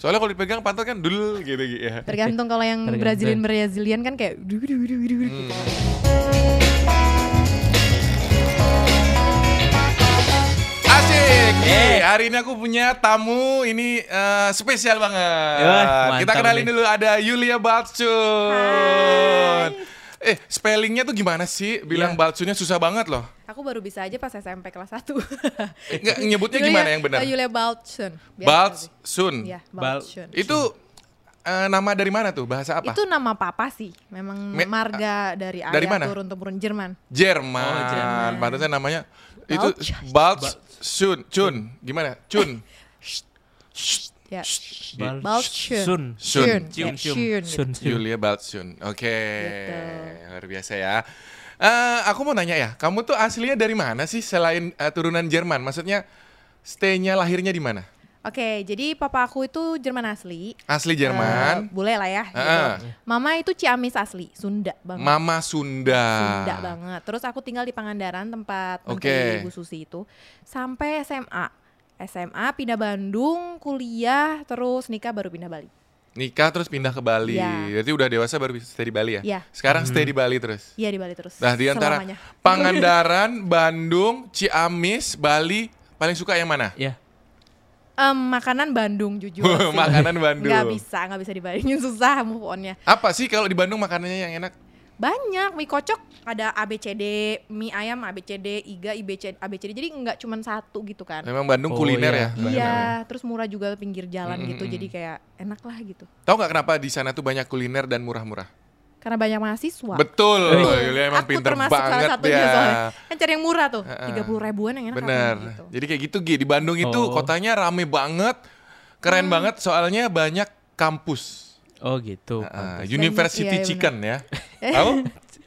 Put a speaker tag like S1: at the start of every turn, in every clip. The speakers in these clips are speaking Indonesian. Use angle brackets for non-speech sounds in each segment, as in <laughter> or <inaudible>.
S1: Soalnya kalau dipegang pantat kan dul gitu gitu ya.
S2: Tergantung kalau yang
S3: Tergantung.
S2: Brazilian Brazilian kan kayak du du du du gitu. du.
S1: Hmm. Asik. Nih,
S3: Eh.
S1: hari ini aku punya tamu ini eh, spesial banget.
S3: Yah,
S1: Kita
S3: mantap
S1: kenalin
S3: nih.
S1: dulu ada Yulia Balcun. Eh, spellingnya tuh gimana sih? Bilang
S3: Iya.
S1: Balcunnya susah banget loh.
S2: Aku baru bisa aja pas SMP kelas 1.
S1: Eh, nggak, nyebutnya gimana yang benar?
S2: Yulia Balchun. Biasa sih.
S1: Balcun.
S2: Iya,
S3: Bal-
S2: Balchun.
S1: Itu eh, nama dari mana tuh? Bahasa apa?
S2: Itu nama papa sih. Memang
S1: Me- ah,
S2: marga dari ayah
S1: dari mana?
S2: turun temurun Jerman.
S1: Jerman.
S3: Oh, Jerman.
S1: Pantasnya namanya
S2: Balch.
S1: itu Balchun. Chun. Gimana? Chun.
S2: Ya.
S3: Bal-
S2: Balchun.
S3: Sun.
S1: Sun.
S2: Sun.
S3: Cium, cium.
S2: Sun.
S3: Sun, cium.
S1: Julia Balchun. Oke.
S2: Gitu.
S1: Luar biasa ya. Eh, aku mau nanya ya, kamu tuh aslinya dari mana sih selain eh, turunan Jerman? Maksudnya stay-nya lahirnya di mana?
S2: Oke, jadi papa aku itu Jerman asli.
S1: Asli
S2: Eh,
S1: Jerman, Ah.
S2: boleh lah ya. gitu.
S1: Heeh.
S2: Mama itu Ciamis asli, Sunda banget.
S1: mama Sunda.
S2: Sunda banget. Terus aku tinggal di Pangandaran tempat
S1: Ah. Oke.
S2: menteri Ibu Susi itu sampai SMA. SMA pindah Bandung, kuliah, terus nikah baru pindah Bali.
S1: Nikah terus pindah ke Bali.
S2: Iya.
S1: Berarti udah dewasa baru bisa stay di Bali ya?
S2: Iya.
S1: Sekarang
S3: Hmm.
S1: stay di Bali terus.
S2: Iya di Bali terus.
S1: Nah, di antara
S2: selamanya.
S1: Pangandaran, <laughs> Bandung, Ciamis, Bali, paling suka yang mana?
S3: Ya.
S2: Em, makanan Bandung
S1: <laughs>
S2: jujur. sih.
S1: Makanan Bandung.
S2: Nggak bisa, nggak bisa dibandingin susah move onnya.
S1: Apa sih kalau di Bandung makanannya yang enak?
S2: Banyak mie kocok ada ABCD, mie ayam ABCD, iga IBCD, ABCD. Jadi nggak cuma satu gitu kan.
S1: Memang Bandung
S3: Oh,
S1: kuliner
S3: iya.
S1: ya. Eh, banyak namanya.
S2: Iya, terus murah juga pinggir jalan
S1: Mm,
S2: gitu.
S1: mm,
S2: Jadi kayak enak lah gitu.
S1: Tahu nggak kenapa di sana tuh banyak kuliner dan murah-murah?
S2: Karena banyak mahasiswa.
S1: Betul,
S2: Betul.
S1: Yulia emang
S2: Aku
S1: pinter
S2: termasuk salah
S1: banget
S2: satunya
S1: ya.
S2: soalnya. Kan cari yang murah tuh,
S1: Heeh.
S2: tiga puluh ribuan yang enak apa
S1: Bener.
S2: gitu.
S1: <laughs> Jadi kayak gitu Gi, di Bandung itu
S3: Oh.
S1: kotanya rame banget, keren
S2: Hmm.
S1: banget soalnya banyak kampus.
S3: Oh gitu.
S1: Ah,
S3: Pantes.
S1: University
S2: Banyak, iya, iya,
S1: Chicken ya.
S2: <laughs>
S1: Tahu?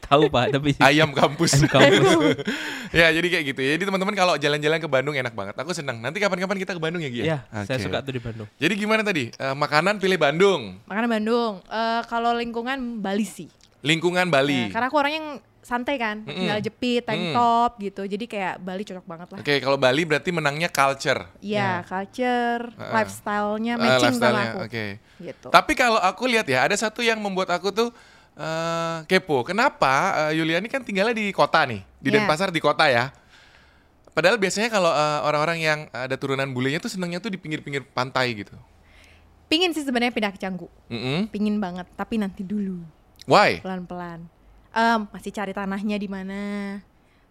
S3: Tahu Pak, tapi
S1: <laughs>
S3: <laughs>
S1: Ayam kampus.
S3: Ayam kampus.
S1: <laughs> ya, jadi kayak gitu. Jadi teman-teman kalau jalan-jalan ke Bandung enak banget. Aku senang. Nanti kapan-kapan kita ke Bandung ya, Gi.
S3: Iya, saya
S1: Oke.
S3: suka tuh di Bandung.
S1: Jadi gimana tadi? Eh, makanan pilih Bandung,
S2: Makanan Bandung. Eh, kalau lingkungan Bali sih.
S1: lingkungan
S2: Nah,
S1: Bali.
S2: karena aku orang yang santai kan,
S1: Mm-mm.
S2: tinggal jepit, tank
S1: Mm.
S2: top gitu. Jadi kayak Bali cocok banget lah.
S1: Oke, kalau Bali berarti menangnya culture.
S2: Iya, culture,
S1: Ya. Heeh.
S2: lifestyle-nya
S1: Eh,
S2: matching sama
S1: lifestyle-nya,
S2: aku.
S1: Oke.
S2: Gitu.
S1: Tapi kalau aku lihat ya, ada satu yang membuat aku tuh eh, kepo. Kenapa eh, Yuliani kan tinggalnya di kota nih, di
S2: Iya.
S1: Denpasar di kota ya. Padahal biasanya kalau eh, orang-orang yang ada turunan bulenya tuh senangnya tuh di pinggir-pinggir pantai gitu.
S2: Pingin sih sebenarnya pindah ke Canggu.
S1: Mm-mm.
S2: Pingin banget, tapi nanti dulu,
S1: Why?
S2: pelan-pelan. Em, masih cari tanahnya di mana.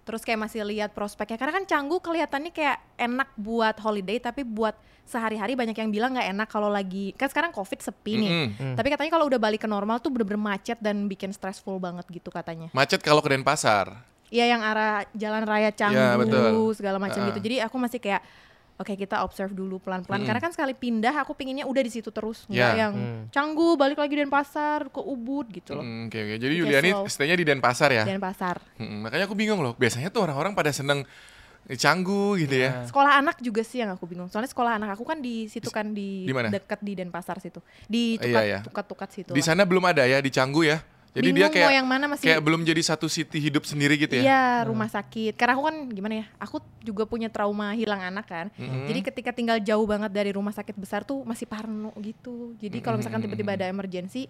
S2: Terus kayak masih lihat prospeknya karena kan Canggu kelihatannya kayak enak buat holiday tapi buat sehari-hari banyak yang bilang nggak enak kalau lagi kan sekarang Covid sepi nih.
S1: Mm-mm.
S3: Hmm.
S2: Tapi katanya kalau udah balik ke normal tuh bener-bener macet dan bikin stressful banget gitu katanya.
S1: Macet kalau ke Denpasar.
S2: Iya yang arah jalan raya Canggu
S1: Ya, betul.
S2: segala macam
S1: Ah.
S2: gitu. Jadi aku masih kayak oke kita observe dulu pelan-pelan
S1: Mm-mm.
S2: karena kan sekali pindah aku pinginnya udah di situ terus nggak
S1: Ya.
S2: yang
S3: Hmm.
S2: Canggu balik lagi Denpasar ke Ubud gitu loh.
S1: Mm, Oke, oke. Jadi
S2: Oke,
S1: Yuliani
S2: slow.
S1: stay-nya di Denpasar ya.
S2: Denpasar.
S1: Mm-mm. Makanya aku bingung loh. Biasanya tuh orang-orang pada seneng eh, canggu gitu ya.
S2: Sekolah anak juga sih yang aku bingung. Soalnya sekolah anak aku kan di situ kan di,
S1: Di mana?
S2: dekat di Denpasar situ. Di
S1: Iya, iya.
S2: tukat-tukat situ.
S1: Di sana belum ada ya di Canggu ya. Jadi dia
S2: Bingung
S1: kayak
S2: mau yang mana masih-
S1: kayak belum jadi satu city hidup sendiri gitu ya.
S2: Iya, rumah sakit. Karena aku kan gimana ya? Aku juga punya trauma hilang anak kan.
S1: Hmm.
S2: Jadi ketika tinggal jauh banget dari rumah sakit besar tuh masih parno gitu. Jadi kalau
S1: Hmm.
S2: misalkan tiba-tiba ada emergensi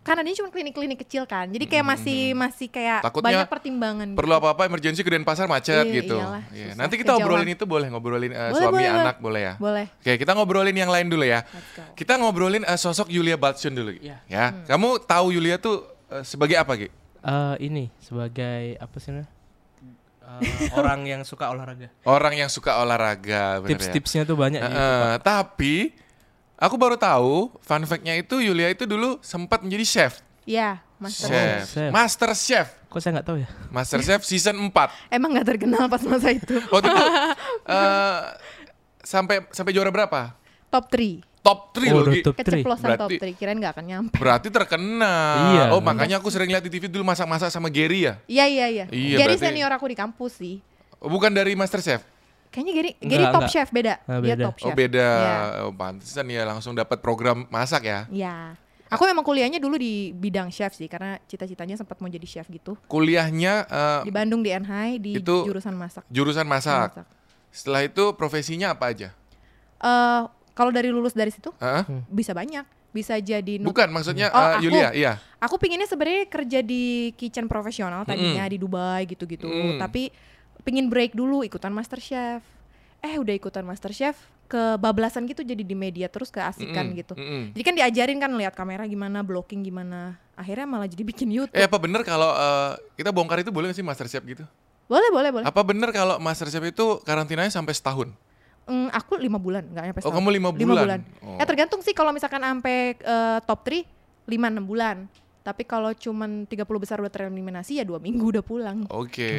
S2: kan adanya cuma klinik-klinik kecil kan. Jadi kayak masih masih kayak
S1: Hmm. Takutnya
S2: banyak pertimbangan. gitu.
S1: Perlu apa-apa emergensi ke Denpasar macet
S2: Iya,
S1: gitu.
S2: iyalah,
S1: Iya.
S2: susah.
S1: Nanti kita
S2: Kejauhan.
S1: obrolin itu boleh ngobrolin eh,
S2: Boleh,
S1: suami
S2: boleh, boleh.
S1: anak boleh ya.
S2: Boleh.
S1: Oke, kita ngobrolin yang lain dulu ya.
S2: Let's go.
S1: Kita ngobrolin eh, sosok Yulia Batsun dulu. Gi.
S3: Iya.
S1: Ya.
S2: Hmm.
S1: Kamu tahu Yulia tuh eh, sebagai apa, Ki?
S3: Eh, ini sebagai apa sih namanya? Eh, orang yang suka olahraga.
S1: Orang yang suka olahraga, bener ya?
S3: Tips-tipsnya gitu, tuh banyak
S1: Eh,
S3: di
S1: eh, tapi aku baru tahu fun fact-nya itu Yulia itu dulu sempat menjadi chef.
S2: Iya, master.
S1: Chef.
S3: Oh, chef.
S1: Master chef.
S3: Kok saya nggak tahu ya?
S1: Master Chef season 4.
S2: Emang nggak terkenal pas masa itu.
S1: Waktu
S2: <laughs>
S1: itu eh, sampai sampai juara berapa?
S2: Top 3.
S1: Top 3
S3: Oh,
S1: loh. Gi.
S3: top three.
S2: Keceplosan top
S1: Berarti-
S2: 3. Kirain nggak akan nyampe.
S1: Berarti terkenal.
S3: Iya.
S1: Oh, makanya aku sering lihat di TV dulu masak-masak sama Gary ya.
S2: Iya, iya, iya.
S1: Iya,
S2: Gary
S1: berarti-
S2: senior aku di kampus sih.
S1: Oh, Bukan dari Master Chef.
S2: Kayaknya Gary,
S3: Nggak,
S2: Gary top
S3: nggak.
S2: chef beda.
S3: Nah,
S2: Dia
S3: beda.
S2: top chef.
S1: Oh, beda.
S2: Iya.
S1: Oh, pantesan ya langsung dapat program masak ya.
S2: Iya. Aku memang kuliahnya dulu di bidang chef sih karena cita-citanya sempat mau jadi chef gitu.
S1: Kuliahnya eh,
S2: Di Bandung di NHI di
S1: Itu Ah.
S2: jurusan masak.
S1: jurusan masak.
S2: Masak.
S1: Setelah itu profesinya apa aja?
S2: Eh, Kalau dari lulus dari situ
S1: Heeh.
S3: Hmm.
S2: bisa banyak, bisa jadi nut-
S1: Bukan maksudnya
S2: Oh,
S1: eh,
S2: aku.
S1: Yulia, iya.
S2: Aku pinginnya sebenarnya kerja di kitchen profesional tadinya di Dubai gitu-gitu,
S1: Mm.
S2: tapi pingin break dulu ikutan MasterChef. Eh udah ikutan MasterChef kebablasan gitu jadi di media terus keasikan
S1: Mm-mm, Mm.
S2: gitu.
S1: mm-mm.
S2: Jadi kan diajarin kan lihat kamera gimana, blocking gimana. Akhirnya malah jadi bikin YouTube.
S1: Eh apa bener kalau eh, kita bongkar itu boleh nggak sih MasterChef gitu?
S2: boleh, boleh, boleh.
S1: Apa bener kalau MasterChef itu karantinanya sampai setahun?
S2: Mm, aku lima bulan, nggak nyampe
S1: Oh,
S2: setahun.
S1: kamu lima
S2: Lima
S1: bulan. Oh.
S2: Ya tergantung sih kalau misalkan sampai eh, top 3 5 6 bulan. Tapi kalau cuman 30 besar udah tereliminasi ya dua minggu udah pulang.
S1: Oke.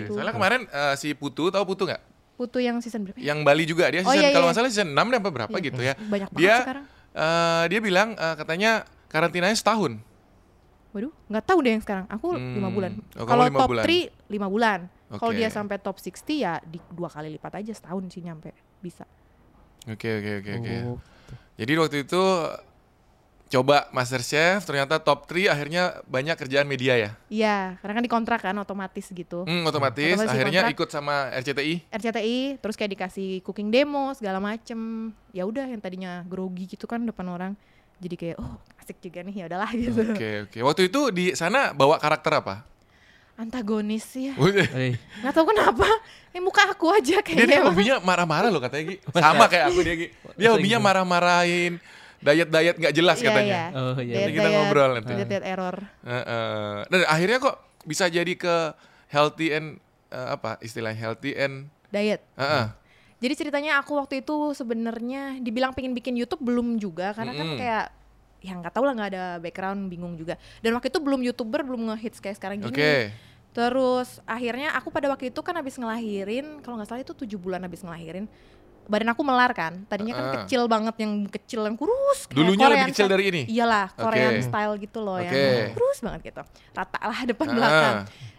S2: gitu.
S1: Soalnya kemarin eh, si Putu tahu Putu nggak?
S2: Putu yang season berapa? ya?
S1: Yang Bali juga dia season
S2: Oh, iya,
S1: kalau
S2: iya.
S1: nggak salah season 6 deh apa berapa
S2: Iya.
S1: gitu ya.
S2: Banyak banget
S1: Dia
S2: sekarang.
S1: eh, dia bilang eh, katanya karantinanya setahun.
S2: Waduh, nggak tahu deh yang sekarang. Aku
S1: Hmm.
S2: lima bulan.
S1: Oh, kamu
S2: kalau
S1: lima
S2: top
S1: bulan.
S2: 3 5 bulan. Kalau
S1: Oke.
S2: dia sampai top 60 ya di dua kali lipat aja setahun sih nyampe bisa.
S1: Oke oke oke oke.
S3: Oh.
S1: Jadi waktu itu coba MasterChef ternyata top 3 akhirnya banyak kerjaan media ya.
S2: Iya, karena kan dikontrak kan otomatis gitu.
S1: Hmm, otomatis,
S2: Otomatis
S1: akhirnya
S2: dikontrak.
S1: ikut sama
S2: <laughs>
S1: RCTI.
S2: RCTI terus kayak dikasih cooking demo segala macem ya udah yang tadinya grogi gitu kan depan orang jadi kayak oh asik juga nih ya udahlah gitu
S1: Oke oke. Waktu itu di sana bawa karakter apa? <laughs>
S2: antagonis ya
S3: Eh,
S2: nggak tahu kenapa <laughs> ini muka aku
S1: dia
S2: aja
S1: dia
S2: kayaknya emang.
S1: hobinya marah-marah loh
S2: <laughs>
S1: katanya Gi.
S2: ya.
S1: Sama kayak aku dia Gi. Dia
S3: Masa
S1: hobinya
S3: gitu?
S1: marah-marahin diet-diet nggak jelas
S2: Iya,
S1: katanya.
S2: iya.
S3: Oh, iya.
S1: Nanti kita ngobrol nanti.
S2: diet-diet error
S1: Heeh. Dan akhirnya kok bisa jadi ke healthy and eh, apa istilahnya healthy and
S2: diet
S1: heeh.
S2: jadi ceritanya aku waktu itu sebenarnya dibilang pengen bikin YouTube belum juga karena kan
S1: Mm-mm.
S2: kayak ya nggak tahu lah nggak ada background bingung juga dan waktu itu belum youtuber belum ngehits kayak sekarang gini
S1: Oke.
S2: Terus akhirnya aku pada waktu itu kan habis ngelahirin, kalau nggak salah itu tujuh bulan habis ngelahirin. Badan aku melar kan, tadinya kan
S1: Ah.
S2: kecil banget yang kecil yang kurus. kayak
S1: Dulunya lebih
S2: Korean
S1: kecil
S2: style.
S1: dari ini?
S2: Iyalah, Korean
S1: Oke.
S2: style gitu loh
S1: Oke.
S2: yang kurus banget gitu. Rata lah depan
S1: Ah.
S2: belakang.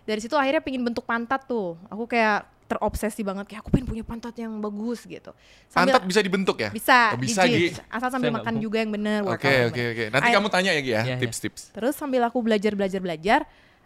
S2: Dari situ akhirnya pingin bentuk pantat tuh. Aku kayak terobsesi banget kayak aku pengen punya pantat yang bagus gitu. Sambil-
S1: Pantat bisa dibentuk ya?
S2: bisa,
S1: Oh, bisa
S2: di
S1: Gi.
S2: gym. asal sambil
S3: Saya nggak
S2: makan
S3: mau.
S2: juga yang bener. workout
S1: Oke
S2: yang
S1: oke
S2: bener.
S1: oke. Nanti
S2: Ayo.
S1: kamu tanya ya Gi ya
S3: Iya, iya.
S1: tips-tips.
S2: Terus sambil aku belajar belajar belajar,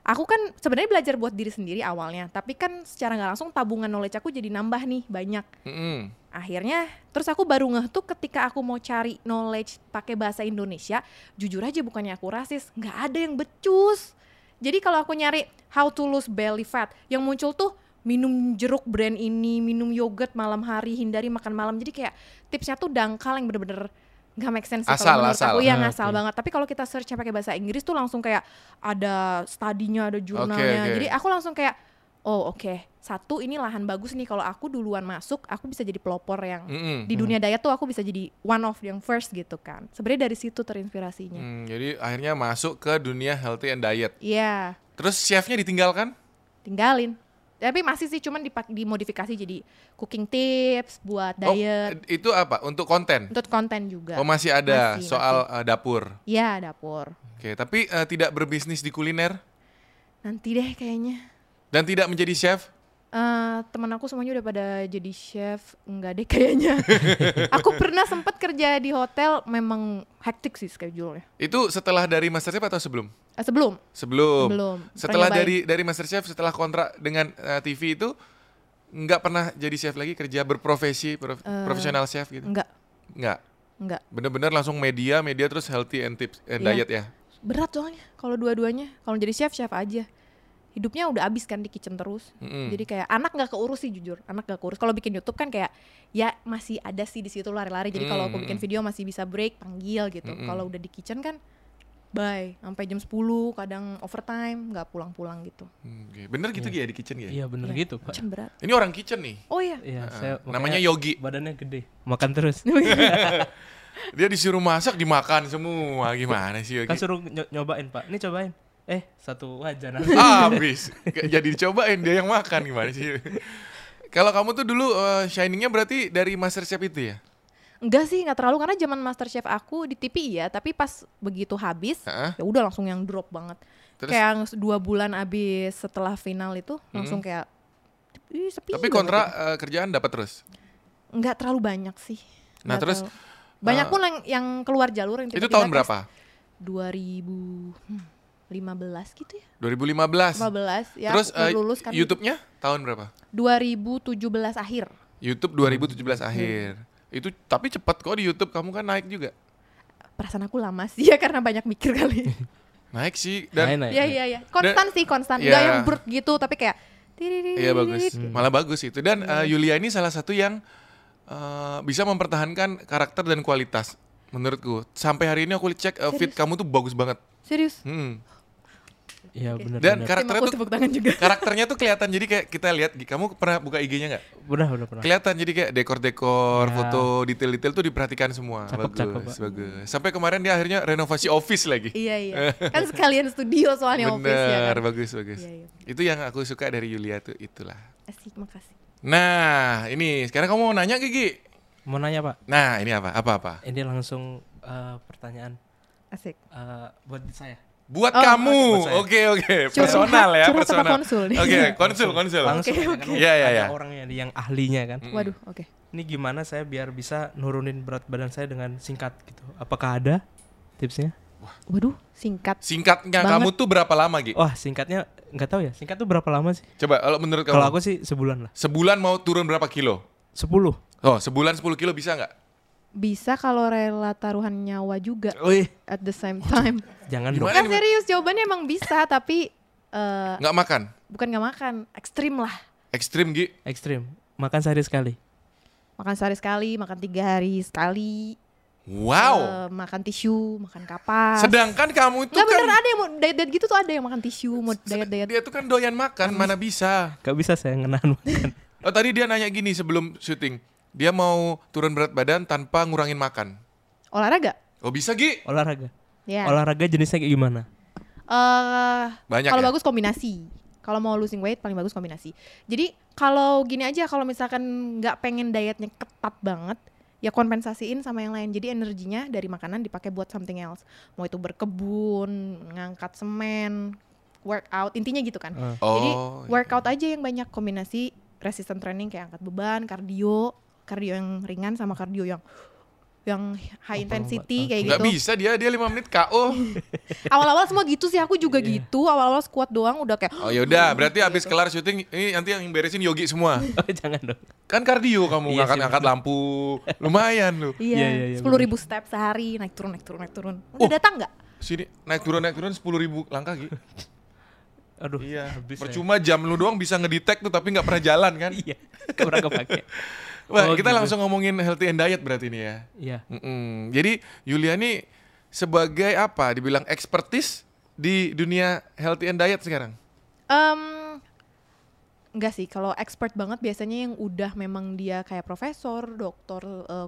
S2: aku kan sebenarnya belajar buat diri sendiri awalnya, tapi kan secara nggak langsung tabungan knowledge aku jadi nambah nih banyak.
S1: Mm-mm.
S2: Akhirnya, terus aku baru ngeh tuh ketika aku mau cari knowledge pakai bahasa Indonesia, jujur aja bukannya aku rasis, nggak ada yang becus. Jadi kalau aku nyari how to lose belly fat, yang muncul tuh minum jeruk brand ini, minum yogurt malam hari, hindari makan malam. Jadi kayak tipsnya tuh dangkal yang bener-bener nggak make sense sih
S1: Asal,
S2: kalau menurut
S1: asal. Hmm,
S2: aku ya
S3: Ah,
S2: ngasal
S3: oke.
S2: banget. Tapi kalau kita search pakai bahasa Inggris tuh langsung kayak ada studinya, ada jurnalnya.
S1: oke.
S2: Jadi aku langsung kayak oh oke satu ini lahan bagus nih kalau aku duluan masuk aku bisa jadi pelopor yang
S1: Mm-mm.
S2: di dunia diet tuh aku bisa jadi one of yang first gitu kan sebenarnya dari situ terinspirasinya
S1: Hmm, jadi akhirnya masuk ke dunia healthy and diet.
S2: iya
S1: Terus chefnya ditinggalkan?
S2: tinggalin tapi masih sih cuman dipak dimodifikasi jadi cooking tips buat
S1: Oh,
S2: diet
S1: eh, itu apa? Untuk konten?
S2: untuk konten juga
S1: Oh masih ada
S2: Masih,
S1: soal eh, dapur.
S2: iya dapur
S1: Oke, tapi eh, tidak berbisnis di kuliner
S2: nanti deh kayaknya
S1: dan tidak menjadi chef.
S2: Eh teman aku semuanya udah pada jadi chef enggak deh
S1: <laughs>
S2: kayaknya aku pernah sempat kerja di hotel memang hektik sih schedule-nya
S1: Itu setelah dari MasterChef atau sebelum?
S2: Eh, sebelum
S1: Sebelum.
S2: Belum.
S1: Setelah
S2: Pernah
S1: dari dari MasterChef setelah kontrak dengan eh, TV itu nggak pernah jadi chef lagi kerja berprofesi prof-
S2: Eh.
S1: profesional chef gitu.
S2: enggak
S1: Nggak.
S2: enggak
S1: Bener-bener langsung media, media terus healthy and tips and
S2: Iya.
S1: diet ya.
S2: berat soalnya kalau dua-duanya kalau jadi chef chef aja hidupnya udah abis kan di kitchen terus
S1: Mm-mm.
S2: jadi kayak anak nggak keurus sih jujur anak nggak keurus kalau bikin YouTube kan kayak ya masih ada sih di situ lari-lari jadi kalau
S1: Hmm.
S2: aku bikin video masih bisa break panggil gitu kalau udah di kitchen kan bye sampai jam 10 kadang overtime nggak pulang-pulang gitu
S1: Hmm, oke. Bener gitu Gi, ya di kitchen ya.
S3: Iya bener
S2: Iya,
S3: gitu pak.
S2: kitchen berat
S1: Ini orang kitchen nih.
S2: oh iya
S3: Iya,
S1: Heeh.
S3: saya makanya
S1: Ah, Namanya Yogi.
S3: Badannya gede. Makan terus.
S1: Dia disuruh masak dimakan semua. Gimana sih Yogi?
S3: Kan suruh nyo- nyobain pak. Ini cobain. Eh satu wajan.
S1: habis Kayak jadi dicobain dia yang makan gimana sih kalau kamu tuh dulu eh, shiningnya berarti dari MasterChef itu ya
S2: Enggak sih, nggak terlalu karena zaman MasterChef aku di TV ya, tapi pas begitu habis
S1: Heeh.
S2: ya udah langsung yang drop banget.
S1: Terus? Hmm.
S2: Kayak yang dua bulan habis setelah final itu langsung kayak Ih, sepi
S1: tapi
S2: banget
S1: kontrak
S2: gitu.
S1: eh, kerjaan dapat terus
S2: nggak terlalu banyak sih.
S1: Nah,
S2: Nggak
S1: terus, eh,
S2: terlalu. banyak pun yang, yang keluar jalur yang
S1: itu
S2: tiba-tiba
S1: tahun
S2: kayak
S1: berapa
S2: 2015 gitu ya.
S1: 2015
S2: 15 ya
S1: terus
S2: aku baru
S1: eh,
S2: lulus kan
S1: YouTube-nya tahun berapa
S2: 2017 akhir. Hmm.
S1: YouTube 2017 akhir Itu tapi cepet kok di YouTube kamu kan naik juga.
S2: Perasaan aku lama sih ya <laughs> karena banyak mikir
S1: <laughs>
S2: kali.
S1: Naik sih
S3: Naik,
S1: dan
S3: naik,
S2: Iya
S3: naik.
S2: iya iya. Konstan sih konstan. Enggak
S1: Nah, Iya.
S2: yang brut gitu tapi kayak tiri-tiri.
S1: iya bagus.
S2: Hmm.
S1: Malah bagus itu dan eh, Yulia ini salah satu yang eh, bisa mempertahankan karakter dan kualitas menurutku. Sampai hari ini aku cek eh, feed kamu tuh bagus banget.
S2: Serius.
S1: Hmm.
S3: Iya benar.
S1: Dan
S3: benar.
S2: Tim
S1: karakternya
S2: aku
S1: tuh
S2: tepuk tangan juga.
S1: karakternya tuh kelihatan jadi kayak kita lihat kamu pernah buka IG-nya nggak?
S3: Benar benar benar.
S1: Kelihatan jadi kayak dekor-dekor,
S3: Ya.
S1: foto, detail-detail tuh diperhatikan semua.
S3: Cakep,
S1: bagus,
S3: cakep, Pak.
S1: bagus. Sampai kemarin dia akhirnya renovasi office lagi.
S2: Iya
S1: <laughs>
S2: iya. Kan sekalian studio soalnya office ya
S1: Bener,
S2: kan.
S1: bagus, bagus.
S2: Iya, iya.
S1: Itu yang aku suka dari Yulia tuh itulah.
S2: Asik, makasih.
S1: Nah, ini sekarang kamu mau nanya Gigi.
S3: Mau nanya Pak,
S1: Nah, ini apa? Apa-apa?
S3: ini langsung eh, pertanyaan
S2: Asik.
S3: eh, buat saya.
S1: Buat
S2: Oh,
S1: kamu. Oke, oke.
S2: Curhat-
S1: Personal ya,
S2: curhat sama
S1: personal.
S2: konsul nih.
S1: Oke, konsul, konsul.
S3: Langsung
S2: Oke,
S3: aja,
S2: oke.
S3: kan
S1: Iya, iya,
S3: ada
S1: iya. Mm.
S3: orang yang, yang ahlinya kan.
S2: Waduh, oke.
S3: Ini gimana saya biar bisa nurunin berat badan saya dengan singkat gitu. Apakah ada tipsnya?
S2: Waduh, singkat.
S1: Singkatnya
S2: Banget.
S1: kamu tuh berapa lama, Gi?
S3: Wah, singkatnya nggak tahu ya. Singkat tuh berapa lama sih?
S1: Coba kalau menurut kamu.
S3: Kalau aku sih sebulan lah.
S1: Sebulan mau turun berapa kilo?
S3: 10.
S1: Oh, sebulan 10 kilo bisa nggak?
S2: Bisa kalau rela taruhan nyawa juga
S3: Wih,
S2: at the same
S1: <laughs>
S2: time.
S3: jangan dong.
S1: Gimana
S2: Kan
S1: nih?
S2: serius jawabannya emang bisa tapi eh,
S1: Nggak makan?
S2: bukan nggak makan, ekstrim lah.
S1: Ekstrim, Gi?
S3: Ekstrim. Makan sehari sekali.
S2: Makan sehari sekali, makan tiga hari sekali,
S1: Wow.
S2: eh, makan tisu, makan kapas.
S1: Sedangkan kamu tuh
S2: Eh, Nggak bener
S1: kan
S2: ada yang mau diet-diet gitu tuh ada yang makan tisu, mau diet-diet.
S1: dia tuh kan doyan makan, mana bisa.
S3: Gak bisa saya ngenahan <laughs> makan.
S1: Oh tadi dia nanya gini sebelum syuting, dia mau turun berat badan tanpa ngurangin makan.
S2: Olahraga?
S1: Oh bisa Gi?
S3: Olahraga.
S2: Ya.
S3: Olahraga jenisnya kayak gimana? <laughs>
S2: eh
S1: Banyak
S2: kalau
S1: ya?
S2: bagus kombinasi. Kalau mau losing weight paling bagus kombinasi. Jadi kalau gini aja kalau misalkan nggak pengen dietnya ketat banget, ya kompensasiin sama yang lain. Jadi energinya dari makanan dipakai buat something else. Mau itu berkebun, ngangkat semen, workout, intinya gitu kan.
S3: Eh,
S1: Oh.
S2: Jadi
S1: iya.
S2: workout aja yang banyak kombinasi resistance training kayak angkat beban, kardio, kardio yang ringan sama kardio yang yang high
S3: Apa,
S2: intensity
S3: Mbak?
S2: kayak
S1: Nggak
S2: gitu.
S1: bisa dia dia 5 menit KO.
S2: Awal-awal semua gitu sih aku juga
S1: Iya.
S2: gitu. Awal-awal squat doang udah kayak
S1: Oh yaudah, berarti habis
S2: Gitu.
S1: kelar syuting ini nanti yang beresin Yogi semua.
S3: Oh, jangan dong.
S1: Kan kardio kamu
S3: Iya
S1: ngangkat
S3: sih,
S1: ngangkat lampu, lumayan lu.
S3: Iya, iya,
S2: iya
S3: iya,
S2: sepuluh ribu step sehari naik turun naik turun naik turun.
S1: Oh.
S2: Udah datang nggak?
S1: Sini naik turun naik turun sepuluh ribu langkah Gi.
S3: Aduh,
S1: Iya.
S3: habis saya.
S1: Percuma jam lu doang bisa ngedetect tuh tapi nggak pernah jalan kan.
S3: <laughs> Iya, kurang kepake.
S1: Wah
S3: Oh,
S1: kita
S3: gitu.
S1: langsung ngomongin healthy and diet berarti nih ya.
S3: Iya.
S1: Mm-mm. Jadi Yulia ini sebagai apa? Dibilang expertise di dunia healthy and diet sekarang.
S2: Em nggak sih kalau expert banget biasanya yang udah memang dia kayak profesor, dokter, eh,